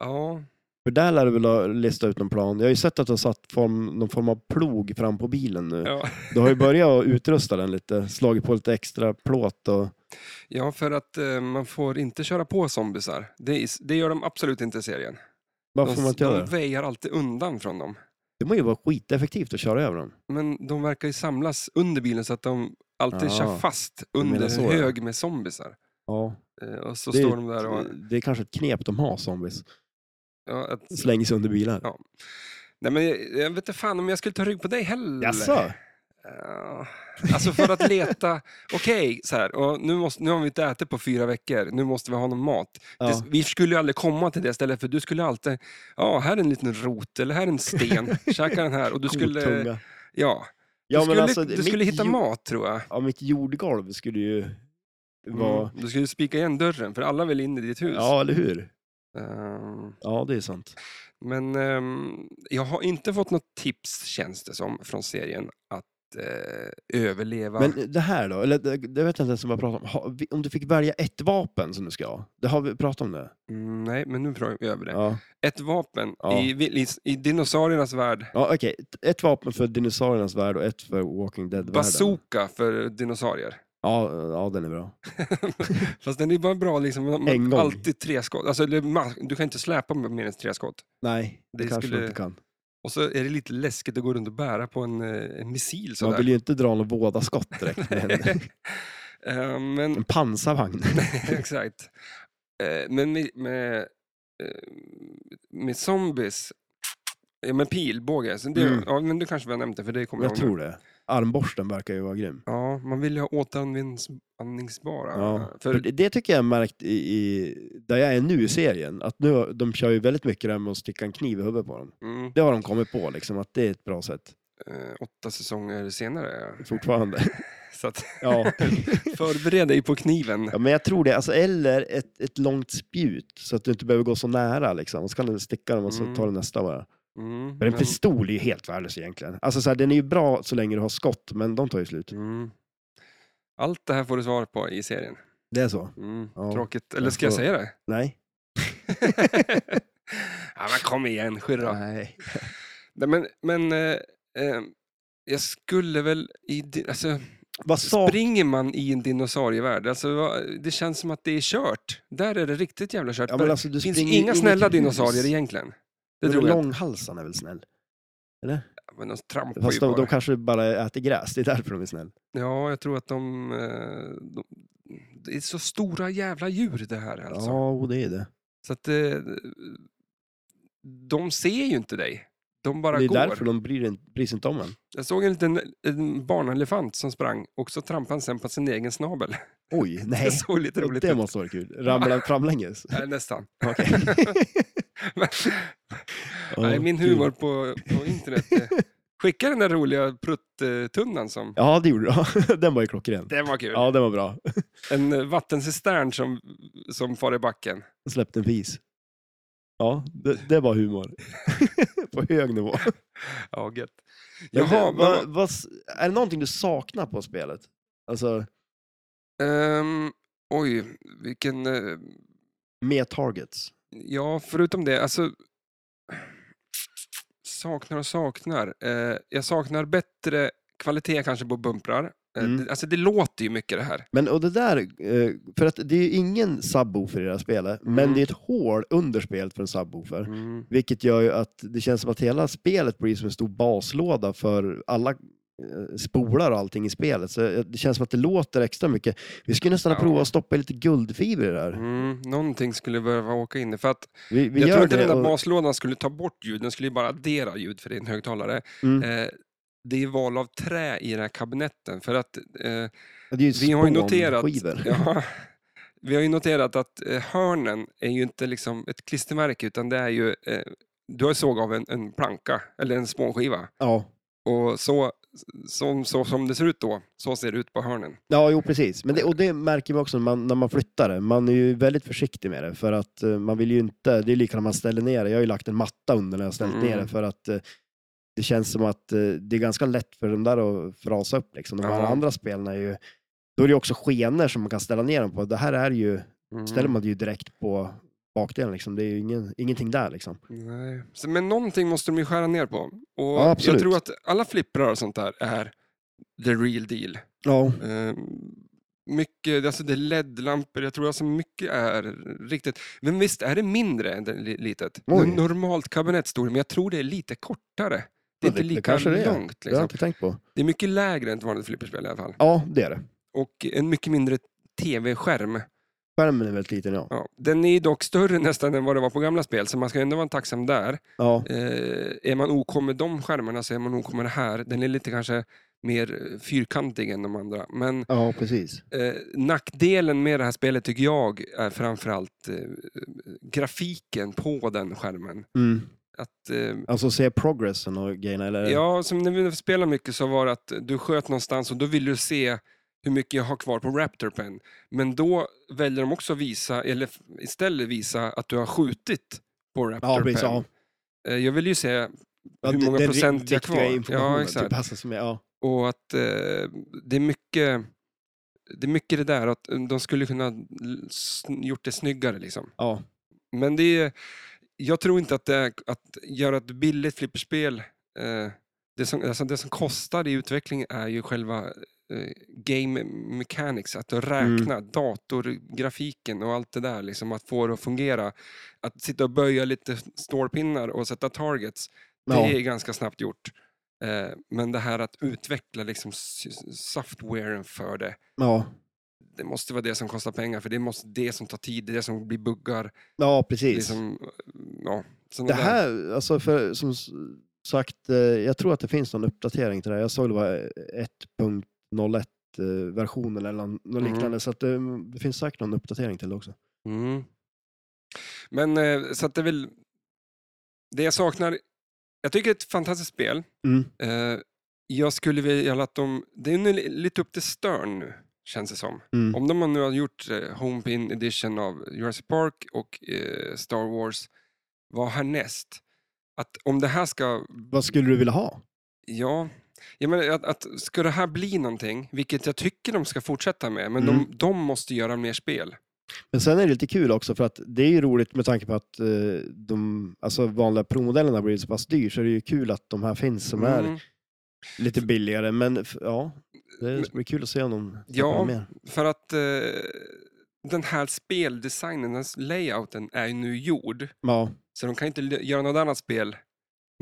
Speaker 1: ja.
Speaker 2: För där lär du väl ha listat ut någon plan. Jag har ju sett att du har satt form, någon form av plog fram på bilen nu.
Speaker 1: Ja.
Speaker 2: Du har ju börjat att utrusta den lite, slagit på lite extra plåt och...
Speaker 1: ja, för att eh, man får inte köra på zombisar. Det, är- det gör de absolut inte i serien.
Speaker 2: Varför får
Speaker 1: de
Speaker 2: man inte göra
Speaker 1: de
Speaker 2: det?
Speaker 1: väjar alltid undan från dem.
Speaker 2: Det må ju vara skiteffektivt att köra över dem.
Speaker 1: Men de verkar ju samlas under bilen så att de alltid
Speaker 2: Ja,
Speaker 1: kör fast
Speaker 2: Ah. menar
Speaker 1: under
Speaker 2: så,
Speaker 1: en
Speaker 2: ja.
Speaker 1: hög med zombisar.
Speaker 2: Ja,
Speaker 1: Eh, Och så
Speaker 2: det,
Speaker 1: står de där och...
Speaker 2: är, det är kanske ett knep de har, zombies.
Speaker 1: Ja, att,
Speaker 2: Slänger sig under bilar.
Speaker 1: Ja. nej, men jag, jag vet inte fan om jag skulle ta rygg på dig heller.
Speaker 2: Jaså?
Speaker 1: Ja, Alltså för att leta, okej, så här, och nu, måste, nu har vi inte ätit på fyra veckor, nu måste vi ha någon mat.
Speaker 2: Ja.
Speaker 1: Det, vi skulle ju aldrig komma till det stället, för du skulle alltid, ja, här är en liten rot, eller här är en sten, käka den här. Och du skulle,
Speaker 2: Kotunga.
Speaker 1: ja, du
Speaker 2: Ja, men
Speaker 1: skulle,
Speaker 2: alltså,
Speaker 1: du
Speaker 2: mitt
Speaker 1: skulle hitta
Speaker 2: jord-
Speaker 1: mat tror jag.
Speaker 2: Ja, mitt jordgolv skulle ju vara...
Speaker 1: Mm. Du skulle ju spika igen dörren, för alla vill in i ditt hus.
Speaker 2: Ja, eller hur?
Speaker 1: Ehm,
Speaker 2: Ja, det är sant.
Speaker 1: men ehm, jag har inte fått något tips, känns det som, från serien att eh, överleva.
Speaker 2: Men det här då? Eller det, det vet jag inte ens om jag pratar om. Ha, vi- om du fick välja ett vapen som du ska ha? Det har vi pratat om det?
Speaker 1: Mm, nej, men nu pratar vi över det.
Speaker 2: Ja.
Speaker 1: Ett vapen
Speaker 2: Ja.
Speaker 1: i, vill- i, i dinosauriernas värld.
Speaker 2: ja Okej, ett vapen för dinosauriernas värld och ett för Walking Dead-världen.
Speaker 1: Bazooka för dinosaurier.
Speaker 2: Ja, ja, den är bra.
Speaker 1: Fast den är bara bra liksom. man-
Speaker 2: En
Speaker 1: Man,
Speaker 2: gång.
Speaker 1: alltid tre skott. Alltså, eller ma- du kan inte släpa med mer än tre skott.
Speaker 2: Nej, det,
Speaker 1: Det
Speaker 2: kanske
Speaker 1: skulle-
Speaker 2: man inte kan.
Speaker 1: Och så är det lite läskigt att gå runt och bära på en, eh, en missil
Speaker 2: Man
Speaker 1: sådär.
Speaker 2: vill ju inte dra någon våda skott direkt med en,
Speaker 1: Eh, men
Speaker 2: en pansarvagn.
Speaker 1: Exakt. Eh, Men med, med, eh, med zombies, ja men pilbåge, så det,
Speaker 2: Mm.
Speaker 1: ja, men du kanske vi har nämnt det för det kommer
Speaker 2: Jag
Speaker 1: ihåg nu.
Speaker 2: tror det. Armborsten verkar ju vara grym.
Speaker 1: Ja, man vill ju ha återanvändningsbara.
Speaker 2: Ja. För
Speaker 1: För,
Speaker 2: det- det tycker jag jag märkt i, i, där jag är nu i serien, att nu, de kör ju väldigt mycket det här med att sticka en kniv i huvudet på dem.
Speaker 1: mm,
Speaker 2: Det har de kommit på, liksom, att det är ett bra sätt
Speaker 1: eh, åtta säsonger senare.
Speaker 2: fortfarande.
Speaker 1: Så att,
Speaker 2: Ja.
Speaker 1: förbered dig på kniven.
Speaker 2: Ja, men jag tror det. Alltså, eller ett, ett långt spjut, så att du inte behöver gå så nära. Liksom. Och så kan du sticka dem och så
Speaker 1: Mm.
Speaker 2: tar du nästa bara.
Speaker 1: Mm,
Speaker 2: Men en
Speaker 1: men-
Speaker 2: pistol är ju helt värdelös egentligen. Alltså, så här, den är ju bra så länge du har skott, men de tar ju slut.
Speaker 1: mm. Allt det här får du svar på i serien.
Speaker 2: Det är så?
Speaker 1: Mm,
Speaker 2: Ja,
Speaker 1: Tråkigt. Eller
Speaker 2: jag
Speaker 1: ska jag
Speaker 2: får-
Speaker 1: säga det?
Speaker 2: Nej.
Speaker 1: ja, men kom igen, skyrra.
Speaker 2: Nej.
Speaker 1: Nej, men men eh, eh, jag skulle väl... I, di- alltså,
Speaker 2: Vad sa...
Speaker 1: Springer man i en dinosaurievärld? Alltså, vad- det känns som att det är kört. Där är det riktigt jävla kört.
Speaker 2: Ja,
Speaker 1: Där
Speaker 2: men alltså, du
Speaker 1: finns
Speaker 2: springer in i
Speaker 1: inga
Speaker 2: ett
Speaker 1: snälla
Speaker 2: hus.
Speaker 1: dinosaurier egentligen. Det
Speaker 2: Men
Speaker 1: tror jag.
Speaker 2: Långhalsarna är väl snäll?
Speaker 1: Men de trampar ju
Speaker 2: Fast de,
Speaker 1: bara.
Speaker 2: de kanske bara äter gräs, det är därför de är snäll.
Speaker 1: Ja, jag tror att de, eh, de... Det är så stora jävla djur det här alltså.
Speaker 2: Ja, och det är det.
Speaker 1: Så att, eh, de ser ju inte dig. De bara
Speaker 2: det är
Speaker 1: går.
Speaker 2: därför de bryr, en- bryr sig inte om en.
Speaker 1: Jag såg en liten en barnelefant som sprang och så trampade han sen på sin egen snabel.
Speaker 2: Oj,
Speaker 1: Det
Speaker 2: nej.
Speaker 1: såg lite
Speaker 2: Och
Speaker 1: roligt
Speaker 2: det
Speaker 1: ut.
Speaker 2: måste vara kul. Ramla framlänges.
Speaker 1: Nej, nästan.
Speaker 2: Okej.
Speaker 1: Men, nej, min
Speaker 2: kul.
Speaker 1: humor på, på internet. eh, Skicka den där roliga pruttunnan som...
Speaker 2: Ja, det gjorde du. Den var ju klockren.
Speaker 1: Den var kul.
Speaker 2: Ja, den var bra.
Speaker 1: En eh, vattencistern som, som far i backen.
Speaker 2: Släppte en fis. Ja, det, det var humor. på hög nivå.
Speaker 1: Ja, gött.
Speaker 2: Men
Speaker 1: Jaha, vad-
Speaker 2: det, vad, vad, s- är det någonting du saknar på spelet? Alltså,
Speaker 1: Ehm, oj, vilken... eh,
Speaker 2: mer targets?
Speaker 1: Ja, förutom det, alltså... Saknar och saknar. Eh, jag saknar bättre kvalitet kanske på bumprar. Eh,
Speaker 2: Mm.
Speaker 1: det, alltså det låter ju mycket det här.
Speaker 2: Men och det där, eh, för att det är ju ingen subwoofer i det här spelet, men
Speaker 1: Mm.
Speaker 2: det är ett hål under spelet för en subwoofer. Vilket gör ju att det känns som att hela spelet blir som en stor baslåda för alla eh, spolar och allting i spelet. Så eh, det känns som att det låter extra mycket. Vi skulle nästan
Speaker 1: Ja.
Speaker 2: prova att stoppa lite guldfiber i det här.
Speaker 1: Mm, någonting skulle behöva åka in i, för att
Speaker 2: Vi, vi
Speaker 1: jag
Speaker 2: gör
Speaker 1: tror inte
Speaker 2: det
Speaker 1: den där
Speaker 2: och-
Speaker 1: baslådan skulle ta bort ljud, den skulle ju bara addera ljud för det är en högtalare.
Speaker 2: Mm.
Speaker 1: Eh, det är val av trä i den här kabinetten för att eh,
Speaker 2: det är ju
Speaker 1: vi har ju noterat,
Speaker 2: spånskivor.
Speaker 1: ja, vi har ju noterat att eh, hörnen är ju inte liksom ett klistermärke utan det är ju, eh, du har såg av en, en planka eller en spånskiva
Speaker 2: Ja.
Speaker 1: och så, som, så som det ser ut då, så ser det ut på hörnen.
Speaker 2: ja, jo precis. Men det, och det märker man också när man, när man flyttar det. Man är ju väldigt försiktig med det för att eh, man vill ju inte, det är lika när man ställer ner det. Jag har ju lagt en matta under när jag har ställt
Speaker 1: Mm.
Speaker 2: ner det för att eh, det känns som att eh, det är ganska lätt för den där att frasa upp. Liksom. De här
Speaker 1: Ja.
Speaker 2: andra spelen är ju, då är det ju också skenor som man kan ställa ner dem på. Det här är ju,
Speaker 1: Mm.
Speaker 2: ställer man det ju direkt på bakdelen liksom. Det är ju ingen, ingenting där liksom.
Speaker 1: Nej. Så- Men någonting måste de ju skära ner på. Och
Speaker 2: Ja, absolut.
Speaker 1: jag tror att alla flipprar och sånt där är the real deal.
Speaker 2: Ja,
Speaker 1: Eh, mycket, alltså det är LED-lampor, jag tror alltså mycket är riktigt. Men visst är det mindre än det li- litet?
Speaker 2: Oj.
Speaker 1: N- Normalt kabinett står det, men jag tror det är lite kortare. Det är
Speaker 2: Ja,
Speaker 1: inte
Speaker 2: det- det
Speaker 1: lika
Speaker 2: kanske det är.
Speaker 1: långt.
Speaker 2: det har
Speaker 1: Liksom.
Speaker 2: jag inte tänkt på.
Speaker 1: Det är mycket lägre än ett vanligt flipperspel i alla fall.
Speaker 2: Ja, det är det.
Speaker 1: Och en mycket mindre tv-skärm.
Speaker 2: Skärmen är väldigt liten, ja.
Speaker 1: Ja. Den är dock större nästan än vad det var på gamla spel, så man ska ändå vara tacksam där.
Speaker 2: Ja,
Speaker 1: Eh, är man OK med de skärmarna så är man OK med det här. Den är lite kanske mer eh, fyrkantig än de andra. Men
Speaker 2: ja precis.
Speaker 1: eh, nackdelen med det här spelet tycker jag är framförallt eh, grafiken på den skärmen.
Speaker 2: Mm.
Speaker 1: Att, eh,
Speaker 2: Alltså se progressen och grejerna, eller?
Speaker 1: ja, som när vi spelade mycket så var det att du sköt någonstans och då vill du se hur mycket jag har kvar på Raptor Pen. Men då väljer de också att visa, eller f- istället visa att du har skjutit på Raptor
Speaker 2: ja precis.
Speaker 1: Pen.
Speaker 2: Ja.
Speaker 1: Eh, Jag vill ju se
Speaker 2: Ja,
Speaker 1: hur
Speaker 2: det-
Speaker 1: många
Speaker 2: den ri-
Speaker 1: procent jag har
Speaker 2: viktiga
Speaker 1: kvar.
Speaker 2: informationen,
Speaker 1: Ja,
Speaker 2: typ,
Speaker 1: exakt.
Speaker 2: alltså, som är, ja.
Speaker 1: Och att eh, det är mycket det är mycket det där att eh, de skulle kunna l- s- gjort det snyggare liksom.
Speaker 2: Ja.
Speaker 1: Men det är, jag tror inte att det är, att göra ett billigt flipperspel eh, det som, alltså det som kostar i utveckling är ju själva eh, game mechanics, att räkna datorgrafiken och allt det där, liksom, att få det att fungera. Att sitta och böja lite stålpinnar och sätta targets,
Speaker 2: Ja.
Speaker 1: det är ganska snabbt gjort. Eh, men det här att utveckla liksom, s- s- softwaren för det,
Speaker 2: Ja.
Speaker 1: det måste vara det som kostar pengar, för det måste det som tar tid, det är det som blir buggar.
Speaker 2: ja, precis.
Speaker 1: Liksom, ja, såna
Speaker 2: Det
Speaker 1: där-
Speaker 2: här, alltså för, som s- sagt, eh, jag tror att det finns någon uppdatering till det här. Jag såg det var 1.01-versionen eh, eller någon, något
Speaker 1: Mm.
Speaker 2: liknande, så att det, det finns säkert någon uppdatering till det också.
Speaker 1: Mm. Men eh, så att det är väl... Det jag saknar... Jag tycker det är ett fantastiskt spel.
Speaker 2: Mm.
Speaker 1: Eh, Jag skulle vilja att de... Det är nu li- lite upp till Stern nu, känns det som.
Speaker 2: Mm.
Speaker 1: Om de nu har gjort eh, Homepin Edition av Jurassic Park och eh, Star Wars, vad härnäst? Att om det här ska...
Speaker 2: Vad skulle du vilja ha?
Speaker 1: Ja, jag menar att, att ska det här bli någonting, vilket jag tycker de ska fortsätta med, men
Speaker 2: Mm.
Speaker 1: de, de måste göra mer spel.
Speaker 2: Men sen är det lite kul också för att det är ju roligt med tanke på att eh, de alltså vanliga promodellerna blir så pass dyr så det är ju kul att de här finns som är
Speaker 1: Mm.
Speaker 2: lite billigare. Men f- ja, det blir kul att se om de
Speaker 1: Ja.
Speaker 2: släpper mer.
Speaker 1: För att eh, den här speldesignen, den här layouten är ju nu gjord.
Speaker 2: Ja,
Speaker 1: Så de kan inte l- göra något annat spel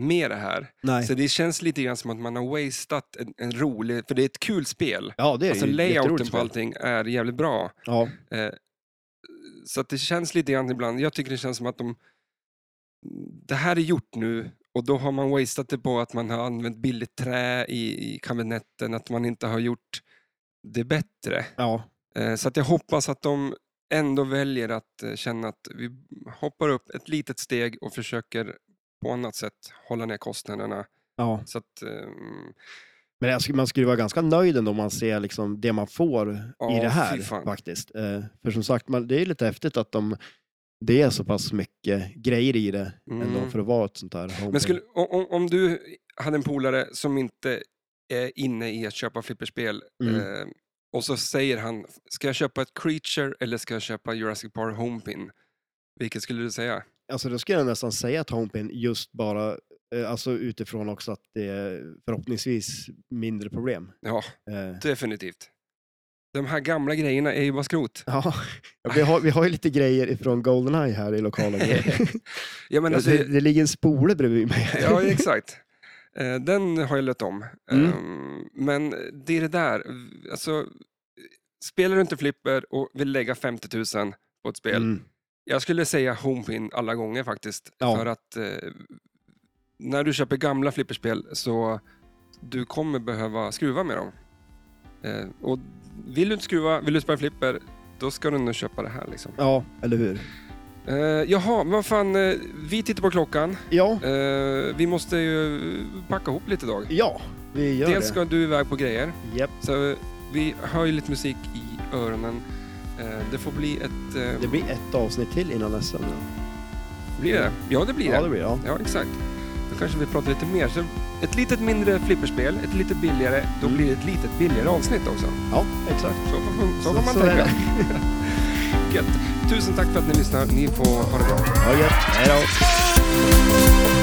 Speaker 1: med det här.
Speaker 2: nej.
Speaker 1: Så det känns lite grann som att man har wastat en, en rolig, för det är ett kul spel.
Speaker 2: Ja, det är
Speaker 1: Alltså
Speaker 2: ju
Speaker 1: layouten
Speaker 2: jätteroligt
Speaker 1: på
Speaker 2: spel.
Speaker 1: allting är jävligt bra.
Speaker 2: Ja,
Speaker 1: Eh, så att det känns lite grann ibland, jag tycker det känns som att de, det här är gjort nu och då har man wastat det på att man har använt billigt trä i, i kabinetten, att man inte har gjort det bättre.
Speaker 2: ja.
Speaker 1: Eh, Så att jag hoppas att de ändå väljer att eh, känna att vi hoppar upp ett litet steg och försöker på annat sätt hålla ner kostnaderna.
Speaker 2: ja.
Speaker 1: Så att, ehm,
Speaker 2: Men jag skulle, man skulle vara ganska nöjd ändå om man ser liksom det man får
Speaker 1: Ja,
Speaker 2: i det här
Speaker 1: fy fan.
Speaker 2: faktiskt. Eh, för som sagt, man, det är lite häftigt att de, det är så pass mycket grejer i det ändå
Speaker 1: Mm.
Speaker 2: för att vara ett sånt här home
Speaker 1: men skulle, o- o- om du hade en polare som inte är inne i att köpa flipperspel
Speaker 2: Mm.
Speaker 1: eh, och så säger han, ska jag köpa ett Creature eller ska jag köpa Jurassic Park Homepin? Vilket skulle du säga?
Speaker 2: Alltså då skulle jag nästan säga att homepin just bara, eh, alltså utifrån också att det är förhoppningsvis mindre problem.
Speaker 1: Ja,
Speaker 2: Eh,
Speaker 1: definitivt. De här gamla grejerna är ju bara skrot.
Speaker 2: ja, vi har, vi har ju lite grejer ifrån Goldeneye här i lokalen.
Speaker 1: Jag menar,
Speaker 2: det, det ligger en spole bredvid mig.
Speaker 1: alltså- Ja, exakt. Eh, Den har jag lött om.
Speaker 2: Mm.
Speaker 1: Ehm, Men det är det där. Alltså, spelar du inte flipper och vill lägga 50 000 på ett spel.
Speaker 2: Mm.
Speaker 1: Jag skulle säga homepin alla gånger faktiskt.
Speaker 2: Ja.
Speaker 1: För att eh, när du köper gamla flipperspel så du kommer behöva skruva med dem. Eh, och vill du inte skruva, vill du spela flipper, då ska du nog köpa det här. Liksom.
Speaker 2: Ja, eller hur?
Speaker 1: Eh, jaha, men vad fan, eh, vi tittar på klockan.
Speaker 2: Ja,
Speaker 1: Eh, vi måste ju packa ihop lite idag.
Speaker 2: ja vi gör
Speaker 1: Dels
Speaker 2: det.
Speaker 1: ska du iväg på grejer,
Speaker 2: Japp.
Speaker 1: så vi hör ju lite musik i öronen. Eh, Det får bli ett... eh,
Speaker 2: Det blir ett avsnitt till innan nästa. nu.
Speaker 1: Blir det? Ja, det blir
Speaker 2: Ja, det
Speaker 1: det.
Speaker 2: blir det. Ja.
Speaker 1: Ja, exakt. Då kanske vi pratar lite mer. Så ett litet mindre flipperspel, ett lite billigare. Då
Speaker 2: Mm.
Speaker 1: blir det ett litet billigare avsnitt också.
Speaker 2: ja, exakt.
Speaker 1: Så får man, så
Speaker 2: Så-
Speaker 1: får man
Speaker 2: så är
Speaker 1: tänka.
Speaker 2: det.
Speaker 1: enkelt. Tusen tack för att ni lyssnar. Ni får ha det bra.
Speaker 2: Ha det gött. Hej då.